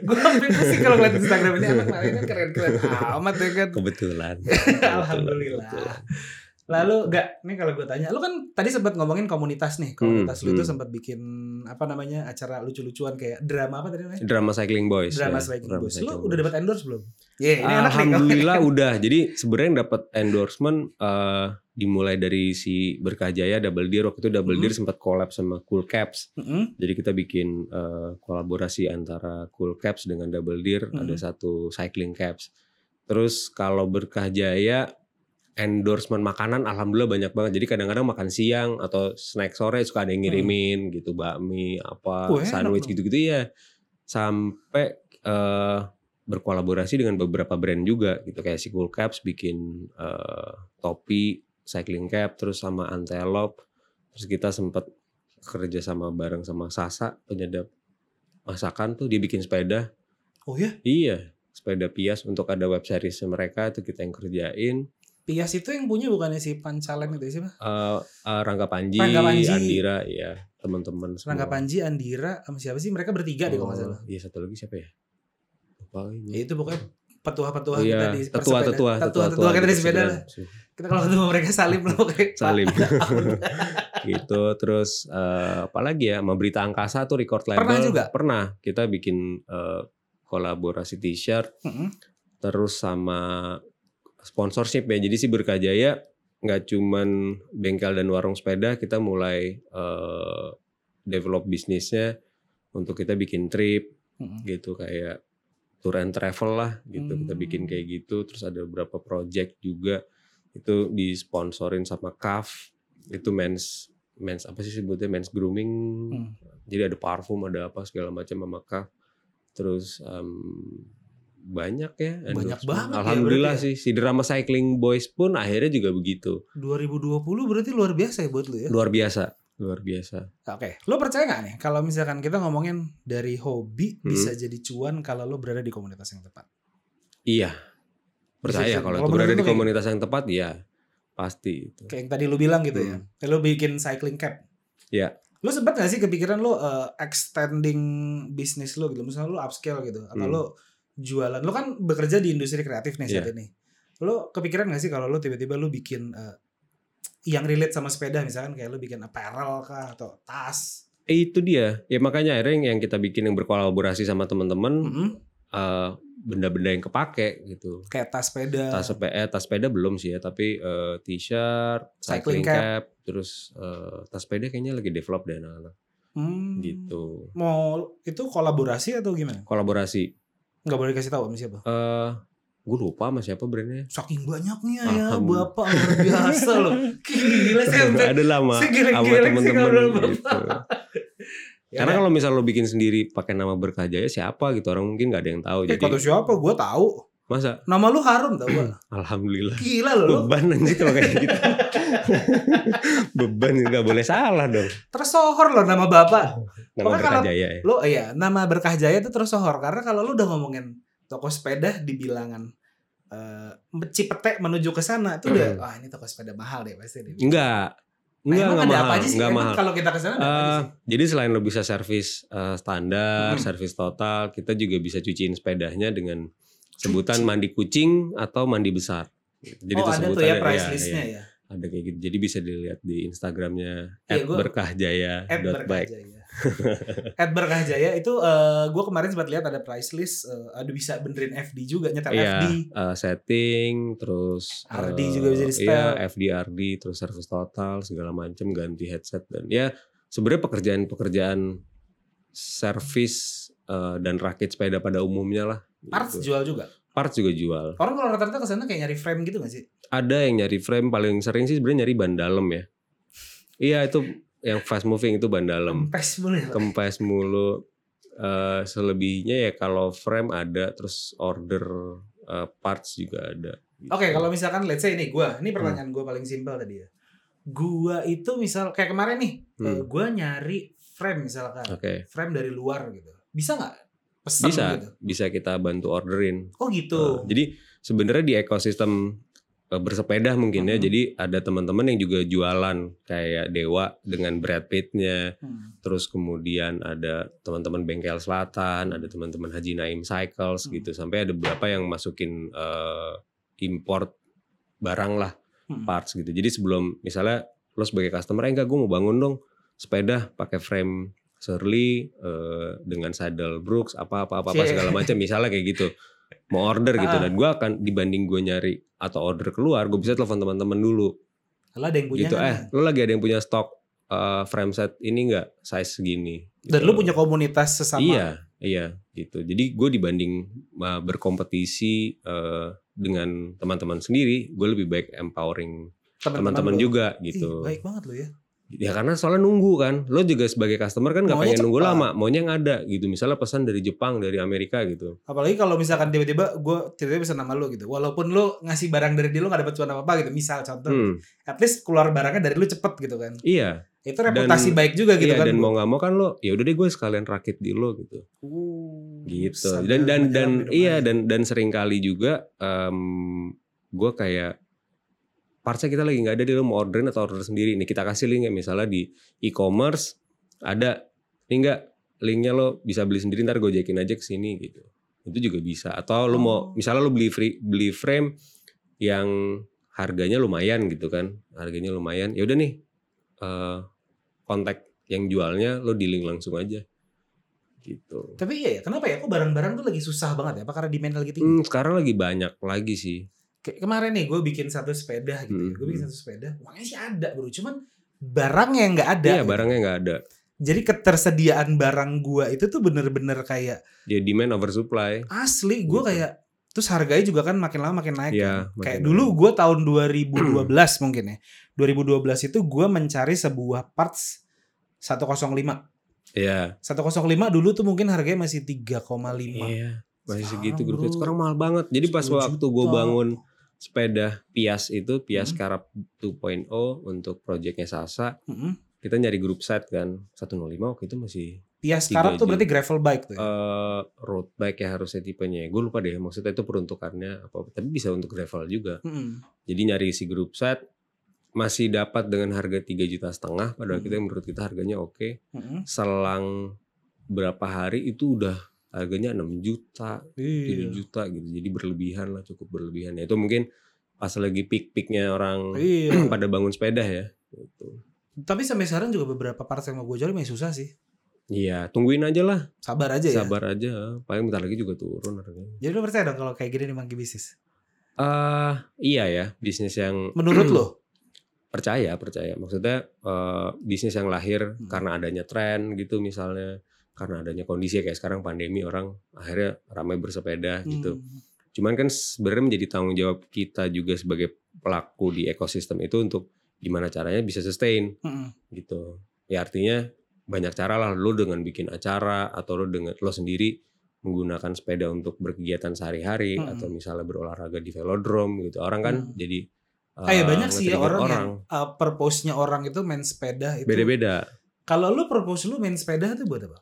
[SPEAKER 1] Gue hampir pusing kalau ngeliat Instagram ini anak lainnya keren keren amat ya kan. [laughs]
[SPEAKER 2] kebetulan.
[SPEAKER 1] Alhamdulillah. Lalu enggak, ini kalau gue tanya, lu kan tadi sempat ngomongin komunitas nih. Komunitas
[SPEAKER 2] Hmm,
[SPEAKER 1] lu itu
[SPEAKER 2] hmm.
[SPEAKER 1] sempat bikin apa namanya acara lucu-lucuan kayak drama apa tadi namanya?
[SPEAKER 2] Drama cycling boys.
[SPEAKER 1] Drama
[SPEAKER 2] ya.
[SPEAKER 1] Striking
[SPEAKER 2] Drama
[SPEAKER 1] Boys. Lu
[SPEAKER 2] Cycling
[SPEAKER 1] udah
[SPEAKER 2] Boys.
[SPEAKER 1] dapat endorse belum? Iya, ini anak nih.
[SPEAKER 2] Alhamdulillah udah. Jadi sebenarnya yang dapat endorsement eh, dimulai dari si Berkah Jaya Double Deer waktu itu Double
[SPEAKER 1] Mhm.
[SPEAKER 2] Deer sempat collab sama Cool Caps.
[SPEAKER 1] [laughs] Mm-mm.
[SPEAKER 2] Jadi kita bikin eh, kolaborasi antara Cool Caps dengan Double Deer
[SPEAKER 1] Mhm.
[SPEAKER 2] ada satu cycling caps. Terus kalau Berkah Jaya endorsement makanan alhamdulillah banyak banget. Jadi kadang-kadang makan siang atau snack sore
[SPEAKER 1] Hmm.
[SPEAKER 2] suka ada yang ngirimin gitu bakmi
[SPEAKER 1] Wah,
[SPEAKER 2] apa
[SPEAKER 1] Oh, enak
[SPEAKER 2] sandwich
[SPEAKER 1] dong.
[SPEAKER 2] gitu-gitu ya. Sampai eh, berkolaborasi dengan beberapa brand juga gitu kayak si Cool Caps bikin eh, topi, cycling cap terus sama Antelope. Terus kita sempat kerja sama bareng sama Sasa penyedap masakan tuh dia bikin sepeda
[SPEAKER 1] Oh ya,
[SPEAKER 2] Iya, sepeda Pias untuk ada web series mereka itu kita yang kerjain.
[SPEAKER 1] Pias itu yang punya bukannya si gitu Pancalen itu sih, Pak?
[SPEAKER 2] Eh, eh, Rangga Panji,
[SPEAKER 1] Rangga Panji.
[SPEAKER 2] Andira, ya teman-teman. semua.
[SPEAKER 1] Rangga Panji, Andira, sama siapa sih? Mereka bertiga deh kalau nggak salah.
[SPEAKER 2] Oh, Iya satu lagi siapa ya? Lupa lagi.
[SPEAKER 1] Ya itu pokoknya petua-petua
[SPEAKER 2] Iya, gitu
[SPEAKER 1] kita di
[SPEAKER 2] tetua,
[SPEAKER 1] persepeda.
[SPEAKER 2] tetua,
[SPEAKER 1] Tetua-tetua kita di sepeda. lah.
[SPEAKER 2] persepeda.
[SPEAKER 1] Kita kalau ketemu mereka salim loh kayak Pak.
[SPEAKER 2] Salim.
[SPEAKER 1] Tahun.
[SPEAKER 2] [laughs] gitu terus eh, apa lagi ya sama berita angkasa tuh record label
[SPEAKER 1] Pernah juga?
[SPEAKER 2] pernah kita bikin eh, kolaborasi t-shirt
[SPEAKER 1] Mm-mm.
[SPEAKER 2] terus sama sponsorship ya. Jadi si Berkajaya nggak cuman bengkel dan warung sepeda, kita mulai eh, develop bisnisnya untuk kita bikin trip
[SPEAKER 1] Mm-mm.
[SPEAKER 2] gitu kayak tour and travel lah gitu. Kita
[SPEAKER 1] Hmm.
[SPEAKER 2] bikin kayak gitu, terus ada beberapa project juga itu disponsorin sama CAF. Itu men's men's apa sih sebutnya men's grooming.
[SPEAKER 1] Hmm.
[SPEAKER 2] Jadi ada parfum, ada apa segala macam sama CAF. Terus em, banyak ya
[SPEAKER 1] Banyak
[SPEAKER 2] endorsement.
[SPEAKER 1] banget ya
[SPEAKER 2] Alhamdulillah
[SPEAKER 1] berarti
[SPEAKER 2] sih si drama cycling boys pun akhirnya juga begitu.
[SPEAKER 1] 2020 berarti luar biasa ya buat lu ya. Nah,
[SPEAKER 2] Luar biasa, luar biasa.
[SPEAKER 1] Oke, lo percaya nggak nih kalau misalkan kita ngomongin dari hobi
[SPEAKER 2] Hmm.
[SPEAKER 1] bisa jadi cuan kalau lo berada di komunitas yang tepat?
[SPEAKER 2] Iya. Percaya
[SPEAKER 1] Bisa-
[SPEAKER 2] kalau
[SPEAKER 1] kalau
[SPEAKER 2] itu berada
[SPEAKER 1] menurut
[SPEAKER 2] di
[SPEAKER 1] lu kayak-
[SPEAKER 2] komunitas yang tepat ya pasti itu.
[SPEAKER 1] Kayak yang tadi lo bilang gitu ya.
[SPEAKER 2] Hmm.
[SPEAKER 1] Kayak Lo bikin cycling cap.
[SPEAKER 2] Iya.
[SPEAKER 1] Lo sempat gak sih kepikiran lo eh, extending bisnis lo gitu? Misalnya lo upscale gitu atau
[SPEAKER 2] Hmm.
[SPEAKER 1] lo jualan. Lo kan bekerja di industri kreatif nih
[SPEAKER 2] Iya.
[SPEAKER 1] saat ini. Lo kepikiran gak sih kalau lo tiba-tiba lo bikin eh, yang relate sama sepeda misalkan kayak lo bikin apparel kah atau tas?
[SPEAKER 2] Eh, itu dia. Ya makanya akhirnya yang- yang kita bikin yang berkolaborasi sama teman-teman
[SPEAKER 1] Mm-mm.
[SPEAKER 2] eh, benda-benda yang kepake gitu.
[SPEAKER 1] Kayak tas sepeda.
[SPEAKER 2] Tas sepeda, eh, tas sepeda belum sih ya, tapi eh, t-shirt,
[SPEAKER 1] Cycling
[SPEAKER 2] cycling, cap, terus eh, tas sepeda kayaknya lagi develop deh anak-anak
[SPEAKER 1] Hmm.
[SPEAKER 2] gitu.
[SPEAKER 1] Mau itu kolaborasi atau gimana?
[SPEAKER 2] kolaborasi.
[SPEAKER 1] Nggak boleh kasih tahu sama siapa?
[SPEAKER 2] Eh, gue lupa sama siapa
[SPEAKER 1] [laughs]
[SPEAKER 2] brandnya.
[SPEAKER 1] Saking banyaknya ya,
[SPEAKER 2] Alhamdulillah.
[SPEAKER 1] bapak luar biasa
[SPEAKER 2] [laughs]
[SPEAKER 1] loh. Gila saya sampai-
[SPEAKER 2] Ada lama
[SPEAKER 1] saya
[SPEAKER 2] sama
[SPEAKER 1] geleng-geleng sih
[SPEAKER 2] temen-temen
[SPEAKER 1] ngobrol sama
[SPEAKER 2] gitu.
[SPEAKER 1] Ya
[SPEAKER 2] Karena
[SPEAKER 1] udah.
[SPEAKER 2] kalau misal lo bikin sendiri pakai nama berkajaya siapa gitu orang mungkin nggak ada yang tahu.
[SPEAKER 1] Eh
[SPEAKER 2] Jadi
[SPEAKER 1] kata siapa? Gue tahu.
[SPEAKER 2] masa
[SPEAKER 1] Nama lu harum tau gak?
[SPEAKER 2] alhamdulillah
[SPEAKER 1] Gila loh. lu.
[SPEAKER 2] beban anjir kalau kayak
[SPEAKER 1] [laughs]
[SPEAKER 2] gitu. beban nggak boleh salah dong.
[SPEAKER 1] Tersohor loh nama bapak.
[SPEAKER 2] Nama
[SPEAKER 1] Pokoknya kalau-
[SPEAKER 2] berkajaya ya.
[SPEAKER 1] Lu iya, nama berkah jaya itu tersohor karena kalau lu udah ngomongin toko sepeda di bilangan eh Cipete menuju ke sana tuh udah wah ini toko sepeda mahal deh pasti deh.
[SPEAKER 2] Hmm. Enggak. Enggak,
[SPEAKER 1] emang
[SPEAKER 2] enggak
[SPEAKER 1] ada
[SPEAKER 2] mahal.
[SPEAKER 1] apa aja sih?
[SPEAKER 2] Enggak
[SPEAKER 1] Emang
[SPEAKER 2] mahal.
[SPEAKER 1] Kalau kita ke sana ada apa aja
[SPEAKER 2] Eh,
[SPEAKER 1] sih?
[SPEAKER 2] jadi selain lo bisa servis eh, standar,
[SPEAKER 1] Mm.
[SPEAKER 2] servis total, kita juga bisa cuciin sepedanya dengan sebutan mandi kucing atau mandi besar.
[SPEAKER 1] oh
[SPEAKER 2] Jadi itu
[SPEAKER 1] ada tuh
[SPEAKER 2] sebutannya,
[SPEAKER 1] ya
[SPEAKER 2] iya,
[SPEAKER 1] price
[SPEAKER 2] iya,
[SPEAKER 1] listnya ya.
[SPEAKER 2] ada kayak gitu. Jadi bisa dilihat di Instagramnya
[SPEAKER 1] Iya, gua- At Berkah
[SPEAKER 2] @berkahjaya.bike.
[SPEAKER 1] Jaya. [laughs] At Berkah Jaya itu eh gue kemarin sempat lihat ada price list. eh, aduh bisa benerin FD juga nyetel
[SPEAKER 2] Iya,
[SPEAKER 1] FD.
[SPEAKER 2] eh, setting, terus
[SPEAKER 1] RD
[SPEAKER 2] eh,
[SPEAKER 1] juga bisa di-setel.
[SPEAKER 2] Iya, FD, RD, terus servis total, segala macam, ganti headset dan ya sebenarnya pekerjaan-pekerjaan servis eh, dan rakit sepeda pada umumnya lah.
[SPEAKER 1] Parts
[SPEAKER 2] gitu.
[SPEAKER 1] jual juga.
[SPEAKER 2] parts juga jual.
[SPEAKER 1] Orang kalau rata-rata ke sana kayak nyari frame gitu gak sih?
[SPEAKER 2] Ada yang nyari frame paling sering sih sebenarnya nyari ban dalam ya. Iya itu yang fast moving itu ban dalam.
[SPEAKER 1] Kempes boleh. Pak.
[SPEAKER 2] Kempes mulu. Eh, selebihnya ya kalau frame ada terus order eh, parts juga ada. gitu.
[SPEAKER 1] Oke kalau misalkan let's say ini gue.
[SPEAKER 2] Hmm.
[SPEAKER 1] Ini pertanyaan gue paling simpel tadi ya. Gue itu misal kayak kemarin nih.
[SPEAKER 2] Hmm.
[SPEAKER 1] gue nyari frame misalkan.
[SPEAKER 2] Oke.
[SPEAKER 1] Frame dari luar gitu. Bisa gak? Pesan
[SPEAKER 2] Bisa
[SPEAKER 1] gitu.
[SPEAKER 2] bisa kita bantu orderin.
[SPEAKER 1] Oh gitu.
[SPEAKER 2] Eh, jadi sebenarnya di ekosistem eh, bersepeda mungkin ya.
[SPEAKER 1] Mhm.
[SPEAKER 2] Jadi ada teman-teman yang juga jualan kayak Dewa dengan Brad Pittnya.
[SPEAKER 1] Hmm.
[SPEAKER 2] terus kemudian ada teman-teman bengkel selatan ada teman-teman Haji Naim Cycles
[SPEAKER 1] Hmm.
[SPEAKER 2] gitu sampai ada beberapa yang masukin eh, import barang lah
[SPEAKER 1] Hmm.
[SPEAKER 2] parts gitu jadi sebelum misalnya lo sebagai customer "Eh, enggak gue mau bangun dong sepeda pakai frame Surly eh, dengan saddle Brooks apa apa apa, apa,
[SPEAKER 1] Cie.
[SPEAKER 2] segala macam misalnya kayak gitu mau order gitu
[SPEAKER 1] Iya. Ah.
[SPEAKER 2] dan gue akan dibanding gue nyari atau order keluar gue bisa telepon teman-teman dulu
[SPEAKER 1] Kalau ada yang punya
[SPEAKER 2] gitu
[SPEAKER 1] kan,
[SPEAKER 2] eh lu lagi ada yang punya stok eh, frame set ini enggak size segini
[SPEAKER 1] Dan
[SPEAKER 2] Gitu.
[SPEAKER 1] lu punya komunitas sesama
[SPEAKER 2] iya iya gitu jadi gue dibanding eh, berkompetisi eh, dengan teman-teman sendiri, gue lebih baik empowering
[SPEAKER 1] Teman-teman
[SPEAKER 2] teman-teman
[SPEAKER 1] lo.
[SPEAKER 2] juga
[SPEAKER 1] Ih,
[SPEAKER 2] gitu.
[SPEAKER 1] baik banget lo ya.
[SPEAKER 2] Ya karena soalnya nunggu kan, lo juga sebagai customer kan nggak
[SPEAKER 1] Maunya
[SPEAKER 2] pengen nunggu
[SPEAKER 1] cepat.
[SPEAKER 2] lama, maunya yang ada gitu. Misalnya pesan dari Jepang, dari Amerika gitu.
[SPEAKER 1] Apalagi kalau misalkan tiba-tiba gue tiba-tiba pesan nama lo gitu. Walaupun lo ngasih barang dari dia lo gak dapet cuan apa-apa gitu. Misal contoh.
[SPEAKER 2] Hmm,
[SPEAKER 1] At least keluar barangnya dari lo cepet gitu kan.
[SPEAKER 2] iya,
[SPEAKER 1] Itu reputasi baik juga gitu
[SPEAKER 2] iya
[SPEAKER 1] kan.
[SPEAKER 2] dan
[SPEAKER 1] Bu.
[SPEAKER 2] mau nggak mau kan lo, ya udah deh gue sekalian rakit di lo gitu.
[SPEAKER 1] Uh,
[SPEAKER 2] gitu
[SPEAKER 1] sadar
[SPEAKER 2] dan dan dan
[SPEAKER 1] menjelang
[SPEAKER 2] iya
[SPEAKER 1] minuman.
[SPEAKER 2] dan dan sering kali juga em gue kayak partsnya kita lagi nggak ada di lo mau orderin atau order sendiri nih kita kasih link ya misalnya di e-commerce ada ini nggak linknya lo bisa beli sendiri ntar gojekin aja ke sini gitu itu juga bisa atau lo mau
[SPEAKER 1] Oh.
[SPEAKER 2] misalnya lo beli free, beli frame yang harganya lumayan gitu kan harganya lumayan ya udah nih eh, kontak yang jualnya lo di link langsung aja gitu
[SPEAKER 1] Tapi iya ya, kenapa ya? Kok barang-barang tuh lagi susah banget ya? Apa karena demand lagi tinggi?
[SPEAKER 2] Hmm, sekarang lagi banyak lagi sih.
[SPEAKER 1] Kayak kemarin nih gue bikin satu sepeda gitu. ya.
[SPEAKER 2] Hmm,
[SPEAKER 1] Gue bikin
[SPEAKER 2] hmm.
[SPEAKER 1] satu sepeda, uangnya sih ada bro. Cuman barangnya yang nggak ada.
[SPEAKER 2] Iya
[SPEAKER 1] gitu.
[SPEAKER 2] barangnya nggak ada.
[SPEAKER 1] Jadi ketersediaan barang gua itu tuh bener-bener kayak
[SPEAKER 2] Jadi demand oversupply.
[SPEAKER 1] asli. Gue
[SPEAKER 2] Gitu.
[SPEAKER 1] kayak terus harganya juga kan makin lama makin naik. kan.
[SPEAKER 2] Iya.
[SPEAKER 1] Kayak
[SPEAKER 2] makin
[SPEAKER 1] dulu
[SPEAKER 2] banyak.
[SPEAKER 1] gue tahun
[SPEAKER 2] [clears throat]
[SPEAKER 1] 2012 mungkin ya. 2012 itu gue mencari sebuah parts 105. 105
[SPEAKER 2] Iya.
[SPEAKER 1] dulu tuh mungkin harganya masih 3,5.
[SPEAKER 2] Iya.
[SPEAKER 1] Sekarang,
[SPEAKER 2] Masih segitu grupnya.
[SPEAKER 1] bro.
[SPEAKER 2] Sekarang mahal banget. Jadi pas
[SPEAKER 1] 10
[SPEAKER 2] waktu gue
[SPEAKER 1] juta.
[SPEAKER 2] bangun sepeda Pias itu Pias
[SPEAKER 1] Hmm.
[SPEAKER 2] Karab 2.0 untuk proyeknya Sasa,
[SPEAKER 1] Mm-mm.
[SPEAKER 2] kita nyari grup set kan 105 waktu itu masih
[SPEAKER 1] Pias
[SPEAKER 2] Tiga
[SPEAKER 1] Karab Ya, tuh
[SPEAKER 2] aja.
[SPEAKER 1] berarti gravel bike tuh ya?
[SPEAKER 2] eh, road bike ya harusnya tipenya. Gue lupa deh maksudnya itu peruntukannya apa. Tapi bisa untuk gravel juga.
[SPEAKER 1] Mm-mm.
[SPEAKER 2] Jadi nyari si grup set masih dapat dengan harga 3 juta setengah
[SPEAKER 1] Hmm.
[SPEAKER 2] padahal kita menurut kita harganya oke.
[SPEAKER 1] Mm-mm.
[SPEAKER 2] Selang berapa hari itu udah harganya 6 juta, 7
[SPEAKER 1] Iya.
[SPEAKER 2] juta gitu. Jadi berlebihan lah, cukup berlebihan. Ya, itu mungkin pas lagi peak-peaknya orang
[SPEAKER 1] Iya.
[SPEAKER 2] [clears throat] pada bangun sepeda ya. Gitu.
[SPEAKER 1] Tapi sampai sekarang juga beberapa parts yang mau gue jual masih susah sih.
[SPEAKER 2] Iya, tungguin aja lah,
[SPEAKER 1] Sabar aja ya.
[SPEAKER 2] sabar aja. Paling bentar lagi juga turun harganya.
[SPEAKER 1] Jadi lu percaya dong kalau kayak gini nih Monkey bisnis.
[SPEAKER 2] Eh, iya ya, bisnis yang [clears throat]
[SPEAKER 1] Menurut lo?
[SPEAKER 2] percaya percaya maksudnya eh, bisnis yang lahir
[SPEAKER 1] Hmm.
[SPEAKER 2] karena adanya tren gitu misalnya karena adanya kondisi kayak sekarang pandemi orang akhirnya ramai bersepeda gitu
[SPEAKER 1] Hmm.
[SPEAKER 2] cuman kan sebenarnya menjadi tanggung jawab kita juga sebagai pelaku di ekosistem itu untuk gimana caranya bisa sustain
[SPEAKER 1] Mm-mm.
[SPEAKER 2] gitu ya artinya banyak cara lah lo dengan bikin acara atau lo dengan lo sendiri menggunakan sepeda untuk berkegiatan sehari-hari
[SPEAKER 1] Hmm.
[SPEAKER 2] atau misalnya berolahraga di velodrome gitu orang kan
[SPEAKER 1] Hmm.
[SPEAKER 2] jadi
[SPEAKER 1] Ah, ya
[SPEAKER 2] eh,
[SPEAKER 1] banyak sih ya Gitu.
[SPEAKER 2] nge-trigger
[SPEAKER 1] orang, yang uh, purpose-nya orang itu main sepeda itu.
[SPEAKER 2] beda-beda
[SPEAKER 1] Kalau lu purpose lu main sepeda itu buat apa?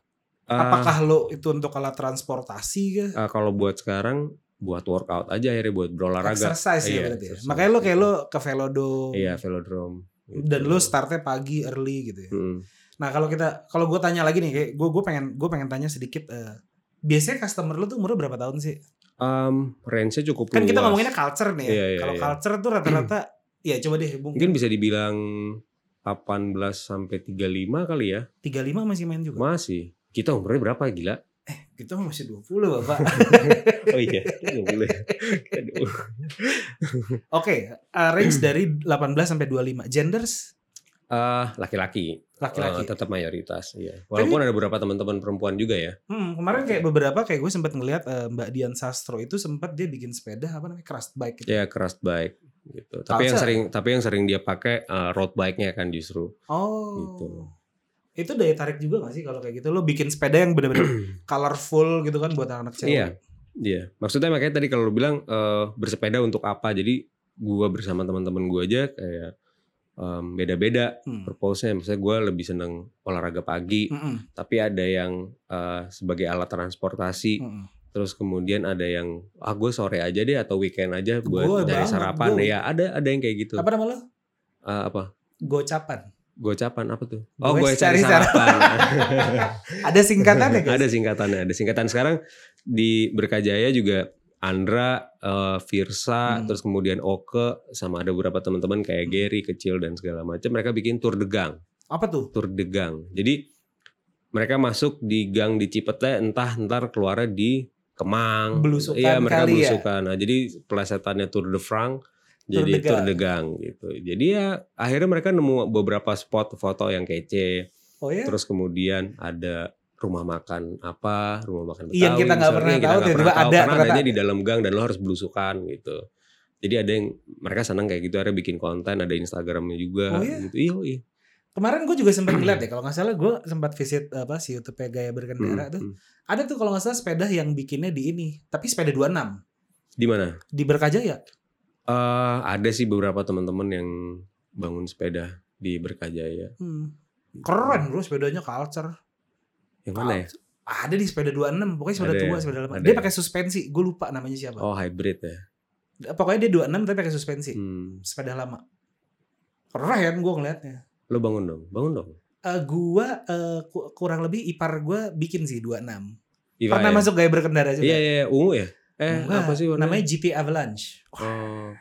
[SPEAKER 2] Eh,
[SPEAKER 1] Apakah lu itu untuk alat transportasi kah?
[SPEAKER 2] eh, kalau buat sekarang buat workout aja akhirnya buat berolahraga.
[SPEAKER 1] Exercise ya
[SPEAKER 2] Iya,
[SPEAKER 1] berarti ya.
[SPEAKER 2] exercise.
[SPEAKER 1] Makanya lu kayak lu ke velodo
[SPEAKER 2] Iya, velodrome. gitu.
[SPEAKER 1] dan lu startnya pagi early gitu ya.
[SPEAKER 2] Mm-mm.
[SPEAKER 1] Nah kalau kita kalau gue tanya lagi nih, kayak gue gue pengen gue pengen tanya sedikit. eh, biasanya customer lu tuh umur berapa tahun sih?
[SPEAKER 2] Um, range-nya cukup
[SPEAKER 1] Kan kita
[SPEAKER 2] luas.
[SPEAKER 1] ngomonginnya culture nih. ya.
[SPEAKER 2] Iya, iya,
[SPEAKER 1] kalau
[SPEAKER 2] iya.
[SPEAKER 1] culture tuh rata-rata, [clears throat] ya coba deh mungkin
[SPEAKER 2] mungkin bisa dibilang 18 sampai 35 kali ya.
[SPEAKER 1] 35 masih main juga.
[SPEAKER 2] Masih. Kita umurnya berapa gila?
[SPEAKER 1] Kita mah masih 20 bapak.
[SPEAKER 2] Oh iya, nggak boleh. Aduh.
[SPEAKER 1] Oke, eh, range dari 18 sampai 25. Genders
[SPEAKER 2] Eh, laki-laki Eh,
[SPEAKER 1] laki-laki.
[SPEAKER 2] tetap mayoritas iya. Walaupun ada beberapa teman-teman perempuan juga ya.
[SPEAKER 1] Hmm, kemarin kayak beberapa kayak gue sempat ngeliat eh, Mbak Dian Sastro itu sempat dia bikin sepeda apa namanya crust bike gitu.
[SPEAKER 2] Ya keras bike gitu. Tapi
[SPEAKER 1] Culture.
[SPEAKER 2] yang sering tapi yang sering dia pakai eh, road bike-nya kan justru.
[SPEAKER 1] Oh.
[SPEAKER 2] Gitu.
[SPEAKER 1] Itu daya tarik juga gak sih kalau kayak gitu lo bikin sepeda yang
[SPEAKER 2] [clears throat]
[SPEAKER 1] bener-bener colorful gitu kan buat anak-anak cewek.
[SPEAKER 2] Iya, iya. Maksudnya makanya tadi kalau lu bilang eh, bersepeda untuk apa? Jadi gua bersama teman-teman gua aja kayak em, beda-beda
[SPEAKER 1] Hmm.
[SPEAKER 2] purpose-nya. Misalnya gua lebih seneng olahraga pagi,
[SPEAKER 1] Mm-mm,
[SPEAKER 2] tapi ada yang eh, sebagai alat transportasi.
[SPEAKER 1] mm-mm.
[SPEAKER 2] Terus kemudian ada yang ah gue sore aja deh atau weekend aja buat
[SPEAKER 1] Gua
[SPEAKER 2] nyari
[SPEAKER 1] banget,
[SPEAKER 2] sarapan.
[SPEAKER 1] gua-
[SPEAKER 2] Ya ada ada yang kayak gitu.
[SPEAKER 1] Apa nama lo?
[SPEAKER 2] Eh, apa?
[SPEAKER 1] Gocapan.
[SPEAKER 2] Gocapan apa tuh? Oh,
[SPEAKER 1] Gue
[SPEAKER 2] gue
[SPEAKER 1] cari
[SPEAKER 2] cari [laughs] sarapan.
[SPEAKER 1] Ada singkatannya guys?
[SPEAKER 2] [laughs] Ada singkatannya, ada singkatan. Sekarang di Berkajaya juga Andra, eh, Firsa,
[SPEAKER 1] Hmm.
[SPEAKER 2] terus kemudian Oke, sama ada beberapa teman-teman
[SPEAKER 1] Hmm.
[SPEAKER 2] kayak Gary kecil dan segala macam. Mereka bikin tur degang,
[SPEAKER 1] Apa tuh?
[SPEAKER 2] tur degang. Jadi mereka masuk di gang di Cipete, entah ntar keluarnya di Kemang.
[SPEAKER 1] Belusukan
[SPEAKER 2] Iya,
[SPEAKER 1] kali
[SPEAKER 2] mereka
[SPEAKER 1] ya?
[SPEAKER 2] belusukan. Nah, jadi pelesetannya tur de Frank
[SPEAKER 1] Tur
[SPEAKER 2] jadi
[SPEAKER 1] Degang.
[SPEAKER 2] tur degang gitu. Jadi ya akhirnya mereka nemu beberapa spot foto yang kece.
[SPEAKER 1] Oh ya?
[SPEAKER 2] Terus kemudian ada rumah makan apa, rumah makan Betawi.
[SPEAKER 1] Iya, yang kita nggak
[SPEAKER 2] misalnya,
[SPEAKER 1] pernah
[SPEAKER 2] yang kita
[SPEAKER 1] tahu,
[SPEAKER 2] nggak
[SPEAKER 1] tiba-tiba
[SPEAKER 2] pernah
[SPEAKER 1] ada
[SPEAKER 2] Karena
[SPEAKER 1] ternyata.
[SPEAKER 2] adanya di dalam gang dan lo harus belusukan gitu. Jadi ada yang mereka senang kayak gitu, akhirnya bikin konten, ada Instagramnya juga
[SPEAKER 1] Oh, iya?
[SPEAKER 2] gitu. Iya, iya.
[SPEAKER 1] Kemarin gue juga
[SPEAKER 2] [clears throat]
[SPEAKER 1] sempat ngeliat ya, kalau nggak salah gue sempat visit apa si YouTube Gaya Berkendara
[SPEAKER 2] Hmm,
[SPEAKER 1] tuh. Ada tuh kalau nggak salah sepeda yang bikinnya di ini, tapi sepeda 26
[SPEAKER 2] Di mana?
[SPEAKER 1] di Berkajaya.
[SPEAKER 2] Eh, ada sih beberapa teman-teman yang bangun sepeda di Berkajaya.
[SPEAKER 1] Hmm. Keren bro sepedanya culture.
[SPEAKER 2] Yang mana ya?
[SPEAKER 1] Ada di sepeda 26, pokoknya sepeda
[SPEAKER 2] Ada
[SPEAKER 1] tua,
[SPEAKER 2] ya?
[SPEAKER 1] sepeda lama.
[SPEAKER 2] Ada
[SPEAKER 1] Dia
[SPEAKER 2] ya?
[SPEAKER 1] pakai suspensi, gue lupa namanya siapa. Eh,
[SPEAKER 2] Oh, hybrid ya.
[SPEAKER 1] Pokoknya dia 26 tapi pakai suspensi,
[SPEAKER 2] Hmm.
[SPEAKER 1] sepeda lama. Keren gue ngeliatnya.
[SPEAKER 2] Lo bangun dong, bangun dong.
[SPEAKER 1] Eh gua eh, ku- kurang lebih ipar gua bikin sih 26.
[SPEAKER 2] Iva
[SPEAKER 1] Pernah
[SPEAKER 2] ya?
[SPEAKER 1] masuk gaya berkendara juga.
[SPEAKER 2] Iya, iya, iya. ungu ya? Eh,
[SPEAKER 1] Enggak,
[SPEAKER 2] apa sih warnanya?
[SPEAKER 1] Namanya GP Avalanche.
[SPEAKER 2] Oh,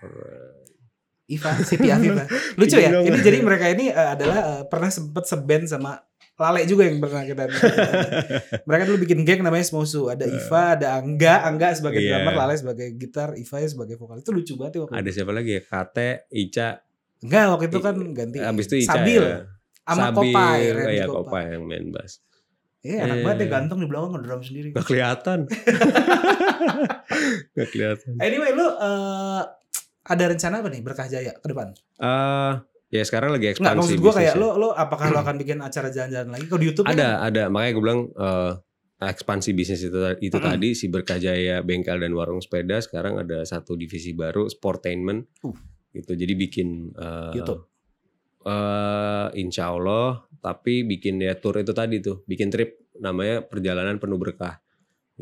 [SPEAKER 1] Iva, Siti
[SPEAKER 2] [laughs]
[SPEAKER 1] Afifa. Lucu ya.
[SPEAKER 2] Bingung.
[SPEAKER 1] Ini jadi mereka ini eh, adalah eh, pernah sempet seband sama Lale juga yang pernah kita.
[SPEAKER 2] [laughs]
[SPEAKER 1] mereka dulu bikin geng namanya Smosu. Ada Iva, ada Angga, Angga sebagai
[SPEAKER 2] Nah. Iya.
[SPEAKER 1] drummer, Lale sebagai gitar, Iva ya sebagai vokal. Itu lucu banget ya waktu.
[SPEAKER 2] ada siapa lagi ya? Kate, Ica,
[SPEAKER 1] Enggak, waktu itu kan ganti.
[SPEAKER 2] Iya. habis itu Ica
[SPEAKER 1] Sabil.
[SPEAKER 2] ya.
[SPEAKER 1] Sama
[SPEAKER 2] Sabil,
[SPEAKER 1] Kopai,
[SPEAKER 2] oh
[SPEAKER 1] Randy
[SPEAKER 2] iya,
[SPEAKER 1] Kopai.
[SPEAKER 2] Kopai yang main bass.
[SPEAKER 1] Iya, enak
[SPEAKER 2] Iya.
[SPEAKER 1] banget ya gantung di belakang ngedrum sendiri.
[SPEAKER 2] Gak
[SPEAKER 1] [laughs]
[SPEAKER 2] kelihatan. Gak kelihatan.
[SPEAKER 1] Anyway, lu eh, ada rencana apa nih berkah jaya ke depan?
[SPEAKER 2] Eh, ya sekarang lagi
[SPEAKER 1] Enggak,
[SPEAKER 2] ekspansi
[SPEAKER 1] maksud gue kayak
[SPEAKER 2] bisnisnya.
[SPEAKER 1] lo, lo apakah lo akan bikin acara jalan-jalan lagi? Kalau di YouTube
[SPEAKER 2] ada
[SPEAKER 1] kan,
[SPEAKER 2] ada makanya gue bilang eh, ekspansi bisnis itu itu
[SPEAKER 1] Mm-mm.
[SPEAKER 2] tadi si Berkajaya Bengkel dan Warung Sepeda sekarang ada satu divisi baru Sportainment
[SPEAKER 1] Uh. Gitu.
[SPEAKER 2] gitu jadi bikin eh,
[SPEAKER 1] YouTube.
[SPEAKER 2] eh, insya Allah tapi bikin ya tour itu tadi tuh bikin trip namanya perjalanan penuh berkah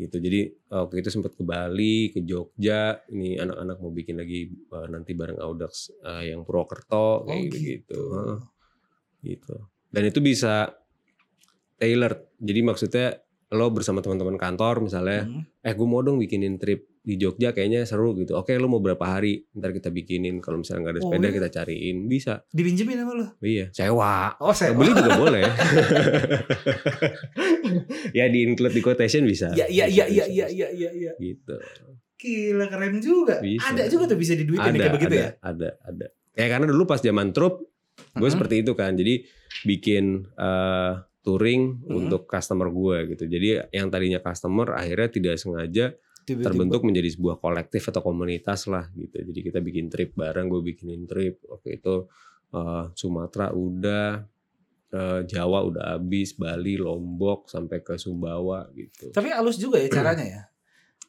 [SPEAKER 2] gitu jadi waktu itu sempat ke Bali ke Jogja ini anak-anak mau bikin lagi eh, nanti bareng Audax eh, yang Purwokerto
[SPEAKER 1] Oh,
[SPEAKER 2] kayak gitu, gitu. Heeh gitu. Dan itu bisa tailored. Jadi maksudnya lo bersama teman-teman kantor misalnya,
[SPEAKER 1] Hmm.
[SPEAKER 2] eh gue mau dong bikinin trip di Jogja kayaknya seru gitu. Oke, lo mau berapa hari? Ntar kita bikinin. Kalau misalnya nggak ada
[SPEAKER 1] Oh,
[SPEAKER 2] sepeda
[SPEAKER 1] iya.
[SPEAKER 2] kita cariin. Bisa.
[SPEAKER 1] Dipinjemin sama lo?
[SPEAKER 2] Iya. Sewa.
[SPEAKER 1] Oh saya
[SPEAKER 2] Yang beli juga
[SPEAKER 1] [laughs]
[SPEAKER 2] boleh. [laughs] ya di include di quotation bisa.
[SPEAKER 1] Ya ya ya
[SPEAKER 2] Bisa,
[SPEAKER 1] ya ya
[SPEAKER 2] bisa, bisa.
[SPEAKER 1] ya ya ya.
[SPEAKER 2] Gitu.
[SPEAKER 1] Gila keren juga.
[SPEAKER 2] Bisa.
[SPEAKER 1] Ada juga tuh bisa diduitin
[SPEAKER 2] ada,
[SPEAKER 1] ya, kayak begitu
[SPEAKER 2] ada,
[SPEAKER 1] ya.
[SPEAKER 2] ada, ada. Ya karena dulu pas zaman trup, gue
[SPEAKER 1] Mm-mm.
[SPEAKER 2] seperti itu kan. Jadi bikin eh, touring
[SPEAKER 1] Mm-mm.
[SPEAKER 2] untuk customer gue gitu. Jadi yang tadinya customer akhirnya tidak sengaja
[SPEAKER 1] Tiba-tiba.
[SPEAKER 2] terbentuk menjadi sebuah kolektif atau komunitas lah gitu. Jadi kita bikin trip bareng, gue bikinin trip. Waktu itu eh, Sumatera udah, eh, Jawa udah habis, Bali, Lombok sampai ke Sumbawa gitu.
[SPEAKER 1] Tapi halus juga ya caranya ya.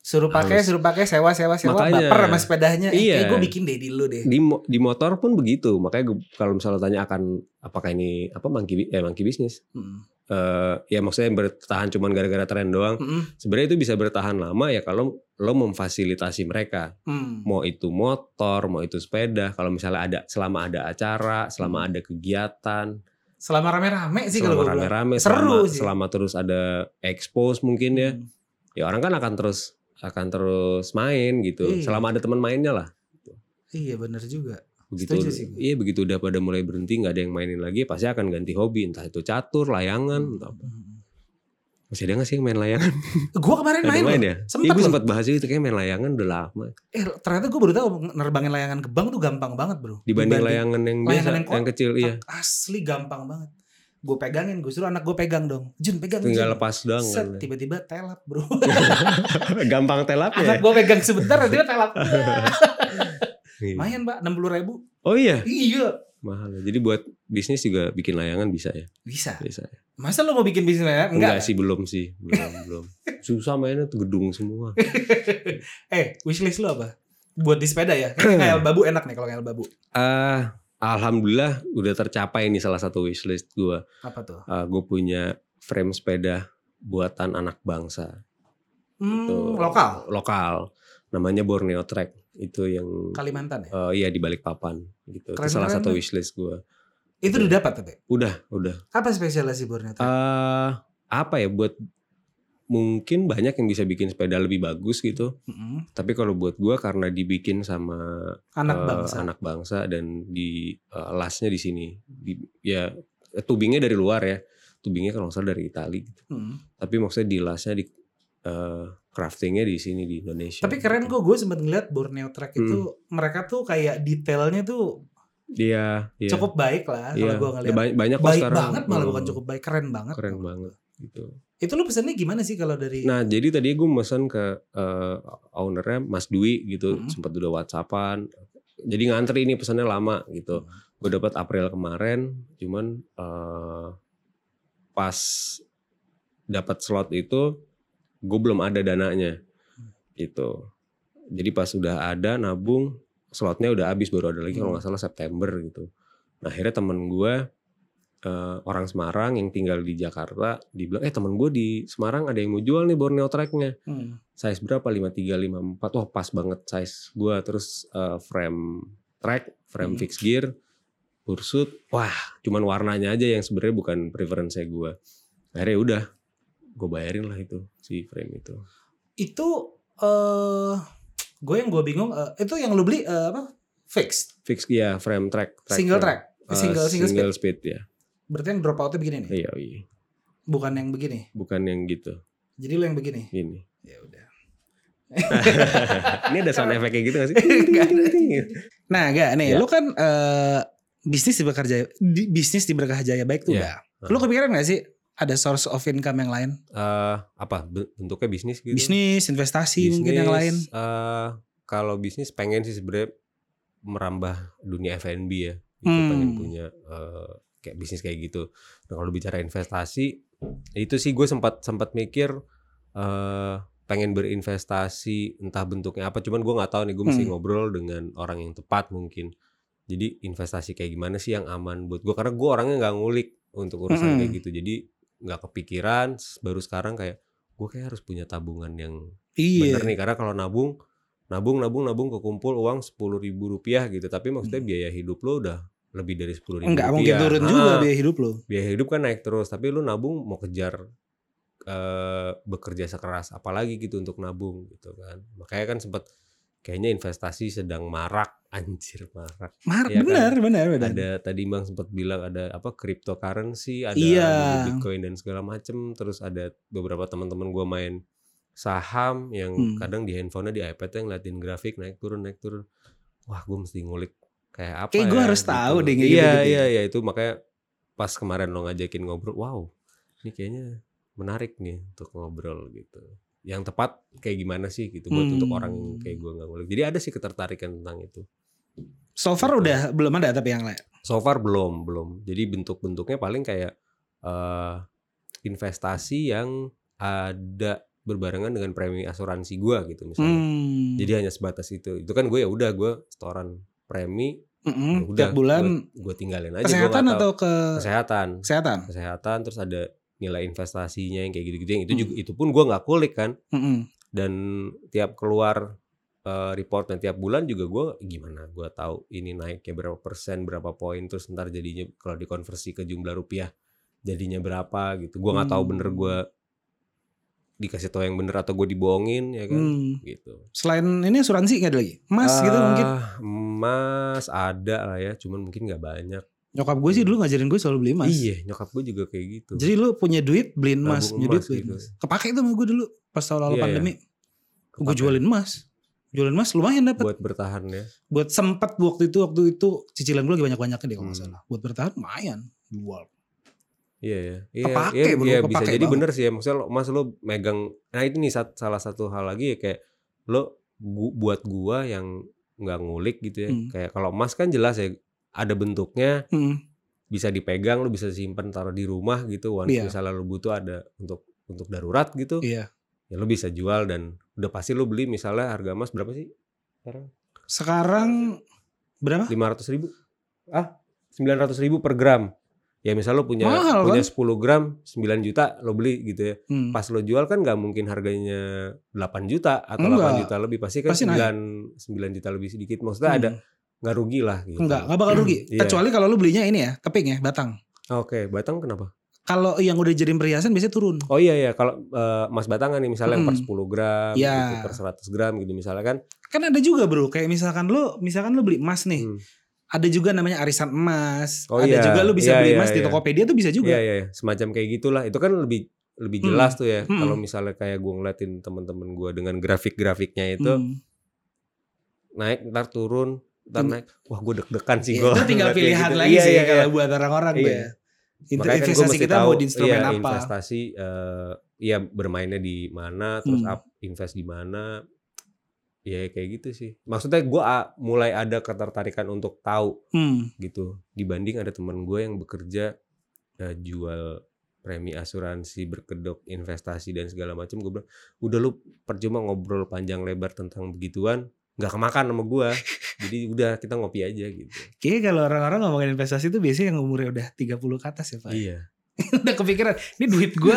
[SPEAKER 1] Suruh pakai,
[SPEAKER 2] Halus.
[SPEAKER 1] suruh pakai, sewa, sewa, sewa,
[SPEAKER 2] Makanya.
[SPEAKER 1] baper sama sepedanya. Eh,
[SPEAKER 2] Iya.
[SPEAKER 1] kayak gue bikin deh di lu deh.
[SPEAKER 2] di mo- di motor pun begitu makanya gue- kalau misalnya tanya akan apakah ini apa monkey bi- eh monkey bisnis
[SPEAKER 1] Mm.
[SPEAKER 2] Eh, ya maksudnya yang bertahan cuman gara-gara tren doang
[SPEAKER 1] Mm-mm.
[SPEAKER 2] sebenarnya itu bisa bertahan lama ya kalau lo memfasilitasi mereka
[SPEAKER 1] Mm.
[SPEAKER 2] mau itu motor mau itu sepeda kalau misalnya ada selama ada acara selama ada kegiatan
[SPEAKER 1] Selama rame-rame Hmm. sih kalau gue
[SPEAKER 2] selama
[SPEAKER 1] bilang.
[SPEAKER 2] rame-rame
[SPEAKER 1] Seru
[SPEAKER 2] selama,
[SPEAKER 1] sih.
[SPEAKER 2] selama terus ada expose mungkin ya
[SPEAKER 1] Mm.
[SPEAKER 2] ya orang kan akan terus akan terus main gitu
[SPEAKER 1] Iya.
[SPEAKER 2] selama ada teman mainnya lah
[SPEAKER 1] Iya bener juga.
[SPEAKER 2] begitu
[SPEAKER 1] Setuju sih gue.
[SPEAKER 2] iya begitu udah pada mulai berhenti nggak ada yang mainin lagi pasti akan ganti hobi entah itu catur layangan
[SPEAKER 1] Hmm.
[SPEAKER 2] entah apa. masih ada nggak sih yang main layangan
[SPEAKER 1] Gue kemarin
[SPEAKER 2] Ada
[SPEAKER 1] main,
[SPEAKER 2] main
[SPEAKER 1] loh.
[SPEAKER 2] ya
[SPEAKER 1] Sempet
[SPEAKER 2] iya gue
[SPEAKER 1] loh.
[SPEAKER 2] sempat bahas itu kayak main layangan udah lama
[SPEAKER 1] Eh ternyata gue baru tahu nerbangin layangan ke bank tuh gampang banget bro.
[SPEAKER 2] dibanding layangan yang
[SPEAKER 1] layangan
[SPEAKER 2] biasa
[SPEAKER 1] yang
[SPEAKER 2] yang,
[SPEAKER 1] ko-
[SPEAKER 2] kecil iya
[SPEAKER 1] Asli gampang banget. Gue pegangin, gue suruh anak gue pegang dong. Jun pegang.
[SPEAKER 2] tinggal
[SPEAKER 1] Jun.
[SPEAKER 2] lepas doang
[SPEAKER 1] Set,
[SPEAKER 2] kan.
[SPEAKER 1] tiba-tiba telap bro.
[SPEAKER 2] [laughs] gampang telap
[SPEAKER 1] anak
[SPEAKER 2] ya
[SPEAKER 1] gue pegang sebentar, tiba-tiba telap. Wah,
[SPEAKER 2] Iya.
[SPEAKER 1] Lumayan pak, 60 ribu.
[SPEAKER 2] oh iya
[SPEAKER 1] Iya.
[SPEAKER 2] mahal ya. jadi buat bisnis juga bikin layangan bisa ya
[SPEAKER 1] Bisa.
[SPEAKER 2] bisa ya.
[SPEAKER 1] Masa lo mau bikin bisnis layangan?
[SPEAKER 2] enggak,
[SPEAKER 1] Enggak.
[SPEAKER 2] sih belum sih [laughs] belum belum susah mainnya tuh gedung semua
[SPEAKER 1] [laughs] Eh, wishlist lo apa? Buat di sepeda ya? Kayak babu enak nih kalau kayak babu.
[SPEAKER 2] ah alhamdulillah udah tercapai nih salah satu wishlist gue
[SPEAKER 1] Apa tuh?
[SPEAKER 2] gue punya frame sepeda buatan anak bangsa.
[SPEAKER 1] Hmm,
[SPEAKER 2] Tuh,
[SPEAKER 1] lokal.
[SPEAKER 2] Lokal. Namanya Borneo Trek. Itu yang
[SPEAKER 1] Kalimantan ya?
[SPEAKER 2] eh, iya di balik papan gitu.
[SPEAKER 1] Keren-keren
[SPEAKER 2] Itu salah
[SPEAKER 1] tuh.
[SPEAKER 2] satu wishlist gue.
[SPEAKER 1] Itu udah dapat tapi.
[SPEAKER 2] Udah, udah.
[SPEAKER 1] Apa spesialisasi Borneo? Trek?
[SPEAKER 2] Eh, apa ya buat mungkin banyak yang bisa bikin sepeda lebih bagus gitu.
[SPEAKER 1] Mm-mm.
[SPEAKER 2] Tapi kalau buat gue karena dibikin sama
[SPEAKER 1] Anak
[SPEAKER 2] eh,
[SPEAKER 1] bangsa.
[SPEAKER 2] anak bangsa dan di eh, lasnya di sini. Di, ya tubingnya dari luar ya. Tubingnya kalau nggak salah dari Itali gitu.
[SPEAKER 1] Mm.
[SPEAKER 2] tapi maksudnya di lasnya di eh, craftingnya di sini di Indonesia. Hmm.
[SPEAKER 1] Tapi keren kok gue sempat ngeliat Borneo Trek itu mereka tuh kayak detailnya tuh
[SPEAKER 2] Iya, iya.
[SPEAKER 1] Cukup baik lah
[SPEAKER 2] iya.
[SPEAKER 1] kalau gue ngeliat.
[SPEAKER 2] Banyak, banyak kok
[SPEAKER 1] baik
[SPEAKER 2] sekarang.
[SPEAKER 1] banget malah
[SPEAKER 2] Hmm,
[SPEAKER 1] bukan cukup baik, keren banget.
[SPEAKER 2] Keren banget gitu.
[SPEAKER 1] Itu lu pesannya gimana sih kalau dari
[SPEAKER 2] Nah, jadi tadi gue mesen ke eh, ownernya Mas Dwi gitu,
[SPEAKER 1] Mhm.
[SPEAKER 2] sempat udah WhatsAppan. Jadi ngantri ini pesannya lama gitu. Gue dapat April kemarin, cuman eh, pas dapat slot itu gue belum ada dananya gitu. Jadi pas udah ada nabung, slotnya udah habis baru ada lagi
[SPEAKER 1] Hmm.
[SPEAKER 2] kalau nggak salah September gitu. Nah, akhirnya temen gue eh, orang Semarang yang tinggal di Jakarta dibilang eh temen gue di Semarang ada yang mau jual nih Borneo Treknya
[SPEAKER 1] Hmm,
[SPEAKER 2] size berapa 53 54 wah pas banget size gue terus eh, frame track frame
[SPEAKER 1] Hmm.
[SPEAKER 2] fixed gear pursuit wah cuman warnanya aja yang sebenarnya bukan preference gue akhirnya udah gue bayarin lah itu si frame itu
[SPEAKER 1] itu eh gue yang gue bingung eh, itu yang lu beli eh, apa fixed
[SPEAKER 2] fixed ya frame track,
[SPEAKER 1] single
[SPEAKER 2] frame.
[SPEAKER 1] track
[SPEAKER 2] Eh,
[SPEAKER 1] single single, speed
[SPEAKER 2] speed. ya
[SPEAKER 1] berarti yang drop outnya begini nih
[SPEAKER 2] iya iya
[SPEAKER 1] bukan yang begini
[SPEAKER 2] bukan yang gitu
[SPEAKER 1] jadi lu yang begini [laughs]
[SPEAKER 2] ini
[SPEAKER 1] ya udah
[SPEAKER 2] ini ada sound effect kayak gitu gak sih
[SPEAKER 1] [laughs] Nggak ada. nah gak nih
[SPEAKER 2] Ya.
[SPEAKER 1] lu kan eh, bisnis di berkah jaya di, bisnis di berkah jaya baik tuh
[SPEAKER 2] Ya.
[SPEAKER 1] Gak? lu kepikiran gak sih ada source of income yang lain
[SPEAKER 2] eh apa ben- bentuknya bisnis gitu
[SPEAKER 1] bisnis investasi mungkin yang lain
[SPEAKER 2] Bisnis, eh, kalau bisnis pengen sih sebenarnya merambah dunia F&B ya itu
[SPEAKER 1] Hmm.
[SPEAKER 2] pengen punya eh, kayak bisnis kayak gitu nah kalau bicara investasi itu sih gue sempat sempat mikir eh pengen berinvestasi entah bentuknya apa cuman gue nggak tahu nih gue mesti
[SPEAKER 1] Hmm.
[SPEAKER 2] ngobrol dengan orang yang tepat mungkin jadi investasi kayak gimana sih yang aman buat gue karena gue orangnya nggak ngulik untuk urusan
[SPEAKER 1] Mm-mm.
[SPEAKER 2] kayak gitu jadi nggak kepikiran baru sekarang kayak gue kayak harus punya tabungan yang
[SPEAKER 1] iya
[SPEAKER 2] bener nih karena kalau nabung nabung nabung nabung kekumpul uang sepuluh ribu rupiah gitu tapi maksudnya biaya hidup lo udah lebih dari sepuluh ribu
[SPEAKER 1] nggak Hmm. mungkin turun juga biaya hidup lu
[SPEAKER 2] biaya hidup kan naik terus tapi lu nabung mau kejar eh, bekerja sekeras apalagi gitu untuk nabung gitu kan makanya kan sempat kayaknya investasi sedang marak [laughs] anjir marak
[SPEAKER 1] Mar,
[SPEAKER 2] Iya kan?
[SPEAKER 1] bener, bener, bener.
[SPEAKER 2] ada tadi bang sempat bilang ada apa cryptocurrency ada
[SPEAKER 1] Iya.
[SPEAKER 2] ada bitcoin dan segala macem terus ada beberapa teman-teman gua main saham yang
[SPEAKER 1] Hmm.
[SPEAKER 2] kadang di handphonenya di iPad yang ngeliatin grafik naik turun naik turun wah gue mesti ngulik kayak apa ya
[SPEAKER 1] Kayak gua harus tahu deh kayak
[SPEAKER 2] iya
[SPEAKER 1] gitu-gitu. ya.
[SPEAKER 2] iya iya itu makanya pas kemarin lo ngajakin ngobrol wow ini kayaknya menarik nih untuk ngobrol gitu yang tepat kayak gimana sih gitu buat untuk
[SPEAKER 1] Hmm.
[SPEAKER 2] orang yang kayak gua nggak ngulik jadi ada sih ketertarikan tentang itu
[SPEAKER 1] So
[SPEAKER 2] Gitu.
[SPEAKER 1] far udah belum ada tapi yang lain.
[SPEAKER 2] So far belum, belum. Jadi bentuk-bentuknya paling kayak eh investasi yang ada berbarengan dengan premi asuransi gua gitu misalnya.
[SPEAKER 1] Hmm.
[SPEAKER 2] Jadi hanya sebatas itu. Itu kan gue ya udah gue setoran premi,
[SPEAKER 1] Mm-mm,
[SPEAKER 2] ya udah,
[SPEAKER 1] tiap bulan
[SPEAKER 2] gue tinggalin aja. Gua
[SPEAKER 1] kesehatan
[SPEAKER 2] nggak tahu.
[SPEAKER 1] atau ke
[SPEAKER 2] kesehatan,
[SPEAKER 1] kesehatan?
[SPEAKER 2] kesehatan. Terus ada nilai investasinya yang kayak gitu-gitu. Yang itu
[SPEAKER 1] Hmm.
[SPEAKER 2] juga itu pun gua nggak kulik kan.
[SPEAKER 1] Mm-mm.
[SPEAKER 2] Dan tiap keluar eh, report dan tiap bulan juga gue gimana gue tahu ini naiknya berapa persen berapa poin terus ntar jadinya kalau dikonversi ke jumlah rupiah jadinya berapa gitu gue nggak tahu
[SPEAKER 1] Hmm.
[SPEAKER 2] bener gue dikasih tahu yang bener atau gue dibohongin ya kan
[SPEAKER 1] Hmm.
[SPEAKER 2] gitu
[SPEAKER 1] Selain ini asuransi nggak ada lagi? Mas gitu mungkin.
[SPEAKER 2] Ah, emas ada lah ya cuman mungkin nggak banyak
[SPEAKER 1] Nyokap gue sih dulu ngajarin gue selalu beli emas.
[SPEAKER 2] iya nyokap gue juga kayak gitu
[SPEAKER 1] Jadi lu punya duit beliin emas,
[SPEAKER 2] Nabung
[SPEAKER 1] punya
[SPEAKER 2] emas
[SPEAKER 1] duit beliin
[SPEAKER 2] gitu.
[SPEAKER 1] emas. Kepake itu sama gue dulu pas tahun lalu
[SPEAKER 2] Iya, iya.
[SPEAKER 1] pandemi.
[SPEAKER 2] Kepakai
[SPEAKER 1] Gue jualin emas. Jualin emas lumayan dapat. Buat,
[SPEAKER 2] ya, buat bertahan ya
[SPEAKER 1] sempat waktu itu waktu itu cicilan gue lagi banyak-banyaknya deh kalau nggak
[SPEAKER 2] Hmm.
[SPEAKER 1] salah. Buat bertahan lumayan. Jual.
[SPEAKER 2] Iya ya. Iya,
[SPEAKER 1] Kepake,
[SPEAKER 2] iya,
[SPEAKER 1] belum
[SPEAKER 2] iya,
[SPEAKER 1] kepake
[SPEAKER 2] bisa jadi
[SPEAKER 1] banget.
[SPEAKER 2] bener sih ya. Maksudnya lo, Mas lo megang nah itu nih sat- salah satu hal lagi ya kayak lo gu- buat gua yang nggak ngulik gitu ya.
[SPEAKER 1] Hmm.
[SPEAKER 2] Kayak kalau Mas kan jelas ya ada bentuknya
[SPEAKER 1] Hmm.
[SPEAKER 2] bisa dipegang, lo bisa simpen taruh di rumah gitu. Once
[SPEAKER 1] Iya.
[SPEAKER 2] misalnya lo butuh ada untuk untuk darurat gitu,
[SPEAKER 1] Iya.
[SPEAKER 2] ya lo bisa jual dan udah pasti lo beli misalnya harga Mas berapa sih? Sekarang
[SPEAKER 1] Sekarang berapa?
[SPEAKER 2] 500 ribu ah 900 ribu per gram ya misal lo punya
[SPEAKER 1] Mahal, kan?
[SPEAKER 2] punya 10 gram 9 juta lo beli gitu ya
[SPEAKER 1] Hmm.
[SPEAKER 2] pas lo jual kan nggak mungkin harganya 8 juta atau
[SPEAKER 1] Enggak.
[SPEAKER 2] 8 juta lebih pasti kan
[SPEAKER 1] Pasti
[SPEAKER 2] 9 9 juta lebih sedikit maksudnya ada
[SPEAKER 1] Hmm.
[SPEAKER 2] nggak rugi lah gitu
[SPEAKER 1] Enggak, enggak Hmm. bakal rugi.
[SPEAKER 2] Iya.
[SPEAKER 1] Kecuali kalau lu belinya ini ya, keping ya, batang.
[SPEAKER 2] oke batang kenapa
[SPEAKER 1] Kalau yang udah jadi perhiasan biasanya turun.
[SPEAKER 2] oh iya ya kalau eh, mas batangan nih misalnya yang per
[SPEAKER 1] Mm.
[SPEAKER 2] 10 gram
[SPEAKER 1] Iya.
[SPEAKER 2] gitu, per 100 gram gitu misalnya kan
[SPEAKER 1] Kan ada juga bro, kayak misalkan lu, misalkan lu beli emas nih,
[SPEAKER 2] Hmm.
[SPEAKER 1] ada juga namanya arisan emas.
[SPEAKER 2] Oh
[SPEAKER 1] ada
[SPEAKER 2] iya,
[SPEAKER 1] juga lu bisa
[SPEAKER 2] iya,
[SPEAKER 1] beli
[SPEAKER 2] iya,
[SPEAKER 1] emas di
[SPEAKER 2] iya.
[SPEAKER 1] Tokopedia tuh bisa
[SPEAKER 2] Iya
[SPEAKER 1] juga.
[SPEAKER 2] iya iya. semacam kayak gitulah. Itu kan lebih lebih
[SPEAKER 1] Hmm.
[SPEAKER 2] jelas tuh ya.
[SPEAKER 1] Hmm.
[SPEAKER 2] Kalau misalnya kayak gue ngeliatin iya. temen-temen gue dengan grafik-grafiknya itu
[SPEAKER 1] Hmm.
[SPEAKER 2] naik ntar turun ntar
[SPEAKER 1] Hmm.
[SPEAKER 2] naik wah gue deg-degan sih
[SPEAKER 1] Iya,
[SPEAKER 2] gue
[SPEAKER 1] itu
[SPEAKER 2] [laughs]
[SPEAKER 1] tinggal pilihan
[SPEAKER 2] gitu.
[SPEAKER 1] lagi sih kalau buat orang-orang tuh
[SPEAKER 2] Iya.
[SPEAKER 1] ya. Inter-
[SPEAKER 2] Makanya kan gua
[SPEAKER 1] investasi
[SPEAKER 2] mesti
[SPEAKER 1] kita
[SPEAKER 2] tahu,
[SPEAKER 1] mau di instrumen
[SPEAKER 2] iya,
[SPEAKER 1] apa?
[SPEAKER 2] Investasi, eh, iya bermainnya di mana, terus
[SPEAKER 1] Hmm.
[SPEAKER 2] up- invest di mana, ya kayak gitu sih. Maksudnya gue mulai ada ketertarikan untuk tahu
[SPEAKER 1] Hmm.
[SPEAKER 2] gitu. Dibanding ada teman gue yang bekerja eh, jual premi asuransi, berkedok investasi dan segala macam. Gue bilang, udah lu percuma ngobrol panjang lebar tentang begituan, nggak kemakan sama
[SPEAKER 1] [laughs]
[SPEAKER 2] gue. Jadi udah kita ngopi aja gitu.
[SPEAKER 1] Kayaknya kalau orang-orang ngomongin investasi tuh biasanya yang umurnya udah 30 ke atas ya Pak.
[SPEAKER 2] Iya.
[SPEAKER 1] [laughs] udah kepikiran, ini duit
[SPEAKER 2] [laughs]
[SPEAKER 1] gue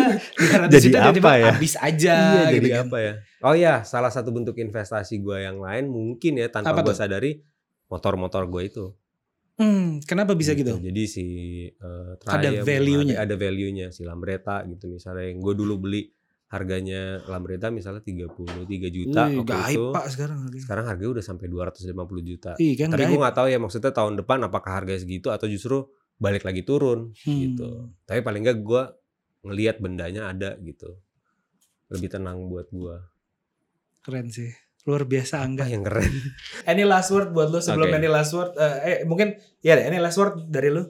[SPEAKER 1] 200
[SPEAKER 2] Jadi
[SPEAKER 1] juta tiba-tiba
[SPEAKER 2] apa ya?
[SPEAKER 1] habis aja
[SPEAKER 2] Iya, jadi
[SPEAKER 1] gitu kan.
[SPEAKER 2] apa ya? Oh ya, salah satu bentuk investasi gue yang lain mungkin ya tanpa
[SPEAKER 1] Apa
[SPEAKER 2] gue
[SPEAKER 1] tuh?
[SPEAKER 2] sadari motor-motor gue itu.
[SPEAKER 1] Hmm, kenapa bisa gitu?
[SPEAKER 2] Jadi si eh,
[SPEAKER 1] Ada
[SPEAKER 2] Triumph,
[SPEAKER 1] value-nya.
[SPEAKER 2] Ada, ada value-nya si Lambretta gitu misalnya yang gue dulu beli harganya Lambretta misalnya 33 juta
[SPEAKER 1] Wih,
[SPEAKER 2] waktu
[SPEAKER 1] gaib
[SPEAKER 2] itu. Iya.
[SPEAKER 1] Pak sekarang.
[SPEAKER 2] Sekarang harganya udah sampai 250 juta.
[SPEAKER 1] Iya kan
[SPEAKER 2] Tapi gue nggak tahu ya maksudnya tahun depan apakah harganya segitu atau justru balik lagi turun
[SPEAKER 1] Hmm.
[SPEAKER 2] gitu. Tapi paling nggak gue ngelihat bendanya ada gitu. Lebih tenang buat gue.
[SPEAKER 1] Keren sih. Luar biasa Angga.
[SPEAKER 2] Enggak Ah, yang keren.
[SPEAKER 1] Any last word buat lu sebelum
[SPEAKER 2] Oke.
[SPEAKER 1] any last word eh eh, mungkin ya deh, any last word dari lu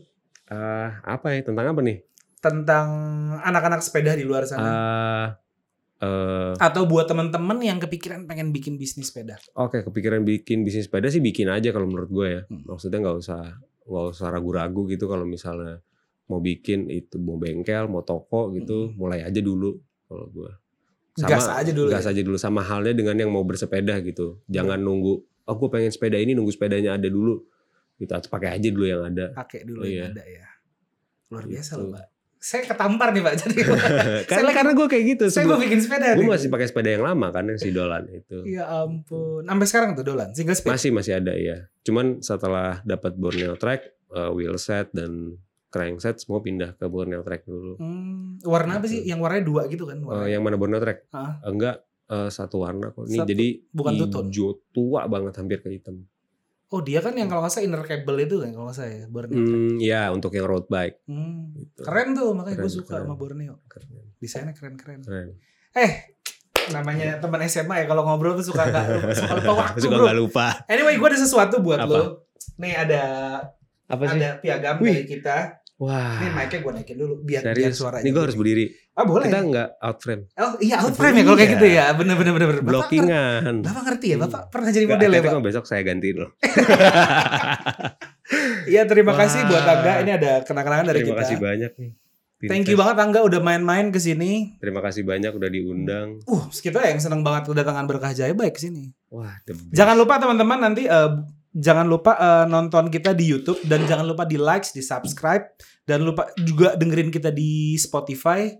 [SPEAKER 2] Eh, apa ya tentang apa nih?
[SPEAKER 1] tentang anak-anak sepeda di luar
[SPEAKER 2] Eh
[SPEAKER 1] sana
[SPEAKER 2] eh,
[SPEAKER 1] atau buat temen-temen yang kepikiran pengen bikin bisnis sepeda.
[SPEAKER 2] Oke, kepikiran bikin bisnis sepeda sih bikin aja kalau menurut gue ya.
[SPEAKER 1] Hmm.
[SPEAKER 2] Maksudnya nggak usah nggak usah ragu-ragu gitu kalau misalnya mau bikin itu mau bengkel, mau toko gitu,
[SPEAKER 1] Hmm.
[SPEAKER 2] mulai aja dulu kalau gue.
[SPEAKER 1] Gas aja dulu
[SPEAKER 2] Gas
[SPEAKER 1] ya?
[SPEAKER 2] aja dulu sama halnya dengan yang mau bersepeda gitu. Jangan nunggu oh gue pengen sepeda ini nunggu sepedanya ada dulu. Gitu atau pakai aja dulu yang
[SPEAKER 1] [laughs]
[SPEAKER 2] ada.
[SPEAKER 1] Pakai dulu yang
[SPEAKER 2] Iya.
[SPEAKER 1] ada ya. Luar biasa
[SPEAKER 2] Gitu.
[SPEAKER 1] loh, Pak. Saya ketampar nih, Pak.
[SPEAKER 2] [laughs]
[SPEAKER 1] Jadi
[SPEAKER 2] karena karena gue kayak gitu
[SPEAKER 1] saya mau
[SPEAKER 2] sebelum-
[SPEAKER 1] bikin sepeda
[SPEAKER 2] gue
[SPEAKER 1] nih.
[SPEAKER 2] masih pakai sepeda yang lama kan yang si Dolan itu.
[SPEAKER 1] Ya ampun. Sampai sekarang tuh dolan single speed.
[SPEAKER 2] Masih masih ada ya. Cuman setelah dapat Borneo Trek, eh, wheel set dan crankset semua pindah ke Borneo Trek dulu.
[SPEAKER 1] Hmm, warna apa sih? Yang warnanya dua gitu kan?
[SPEAKER 2] Eh,
[SPEAKER 1] Warna.
[SPEAKER 2] yang mana Borneo Trek?
[SPEAKER 1] Ah.
[SPEAKER 2] Enggak eh, satu warna kok. Ini
[SPEAKER 1] Satu,
[SPEAKER 2] jadi
[SPEAKER 1] bukan tutun.
[SPEAKER 2] hijau tua banget hampir ke hitam.
[SPEAKER 1] Oh, dia kan yang kalau nggak salah inner cable itu kan kalau nggak salah ya, Borneo.
[SPEAKER 2] Hmm, ya untuk yang road bike.
[SPEAKER 1] Hmm.
[SPEAKER 2] Gitu.
[SPEAKER 1] Keren tuh, makanya gue
[SPEAKER 2] Keren,
[SPEAKER 1] suka
[SPEAKER 2] keren.
[SPEAKER 1] sama Borneo.
[SPEAKER 2] Keren.
[SPEAKER 1] Desainnya keren-keren.
[SPEAKER 2] Keren.
[SPEAKER 1] Eh, Namanya teman SMA ya kalau ngobrol tuh suka
[SPEAKER 2] [laughs]
[SPEAKER 1] nggak suka lupa waktu,
[SPEAKER 2] Suka
[SPEAKER 1] bro.
[SPEAKER 2] nggak lupa.
[SPEAKER 1] Anyway, gue ada sesuatu buat
[SPEAKER 2] Apa?
[SPEAKER 1] lo. Nih ada
[SPEAKER 2] Apa sih?
[SPEAKER 1] ada piagam
[SPEAKER 2] Wih.
[SPEAKER 1] dari kita.
[SPEAKER 2] Wah.
[SPEAKER 1] Ini mic-nya gue naikin dulu biar biar
[SPEAKER 2] Serius,
[SPEAKER 1] suaranya.
[SPEAKER 2] ini gue harus berdiri.
[SPEAKER 1] Ah, boleh.
[SPEAKER 2] Kita nggak out frame.
[SPEAKER 1] Oh, iya out frame ya kalau kayak
[SPEAKER 2] Iya.
[SPEAKER 1] gitu ya. Bener bener bener bener. Bapak ngerti-
[SPEAKER 2] Blockingan.
[SPEAKER 1] Bapak ngerti ya,
[SPEAKER 2] Iya.
[SPEAKER 1] Bapak pernah jadi
[SPEAKER 2] Nggak,
[SPEAKER 1] model ya, Pak?
[SPEAKER 2] tapi besok saya gantiin
[SPEAKER 1] [laughs]
[SPEAKER 2] loh.
[SPEAKER 1] Iya, terima
[SPEAKER 2] Wah.
[SPEAKER 1] kasih buat Angga. Ini ada kenang-kenangan dari
[SPEAKER 2] Terima
[SPEAKER 1] kita.
[SPEAKER 2] kasih banyak nih.
[SPEAKER 1] Thank you banget Angga udah main-main ke sini.
[SPEAKER 2] Terima kasih banyak udah diundang.
[SPEAKER 1] Uh, kita yang seneng banget kedatangan berkah jaya baik ke sini.
[SPEAKER 2] Hmm. Wah, the best.
[SPEAKER 1] Jangan lupa teman-teman nanti eh, jangan lupa eh, nonton kita di YouTube dan jangan lupa di likes, di subscribe dan lupa juga dengerin kita di Spotify.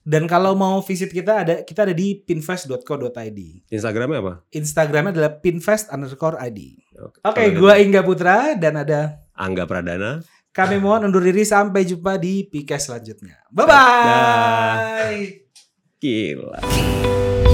[SPEAKER 1] Dan kalau mau visit kita ada kita ada di pinfest.co.id.
[SPEAKER 2] Instagramnya apa?
[SPEAKER 1] Instagramnya adalah pinfest underscore ID.
[SPEAKER 2] Oke,
[SPEAKER 1] Oke, gua
[SPEAKER 2] gitu.
[SPEAKER 1] Ingga Putra dan ada
[SPEAKER 2] Angga Pradana.
[SPEAKER 1] kami mohon undur diri sampai jumpa E di PK selanjutnya. Bye
[SPEAKER 2] Dadah.
[SPEAKER 1] bye.
[SPEAKER 2] Gila.
[SPEAKER 3] Kiki,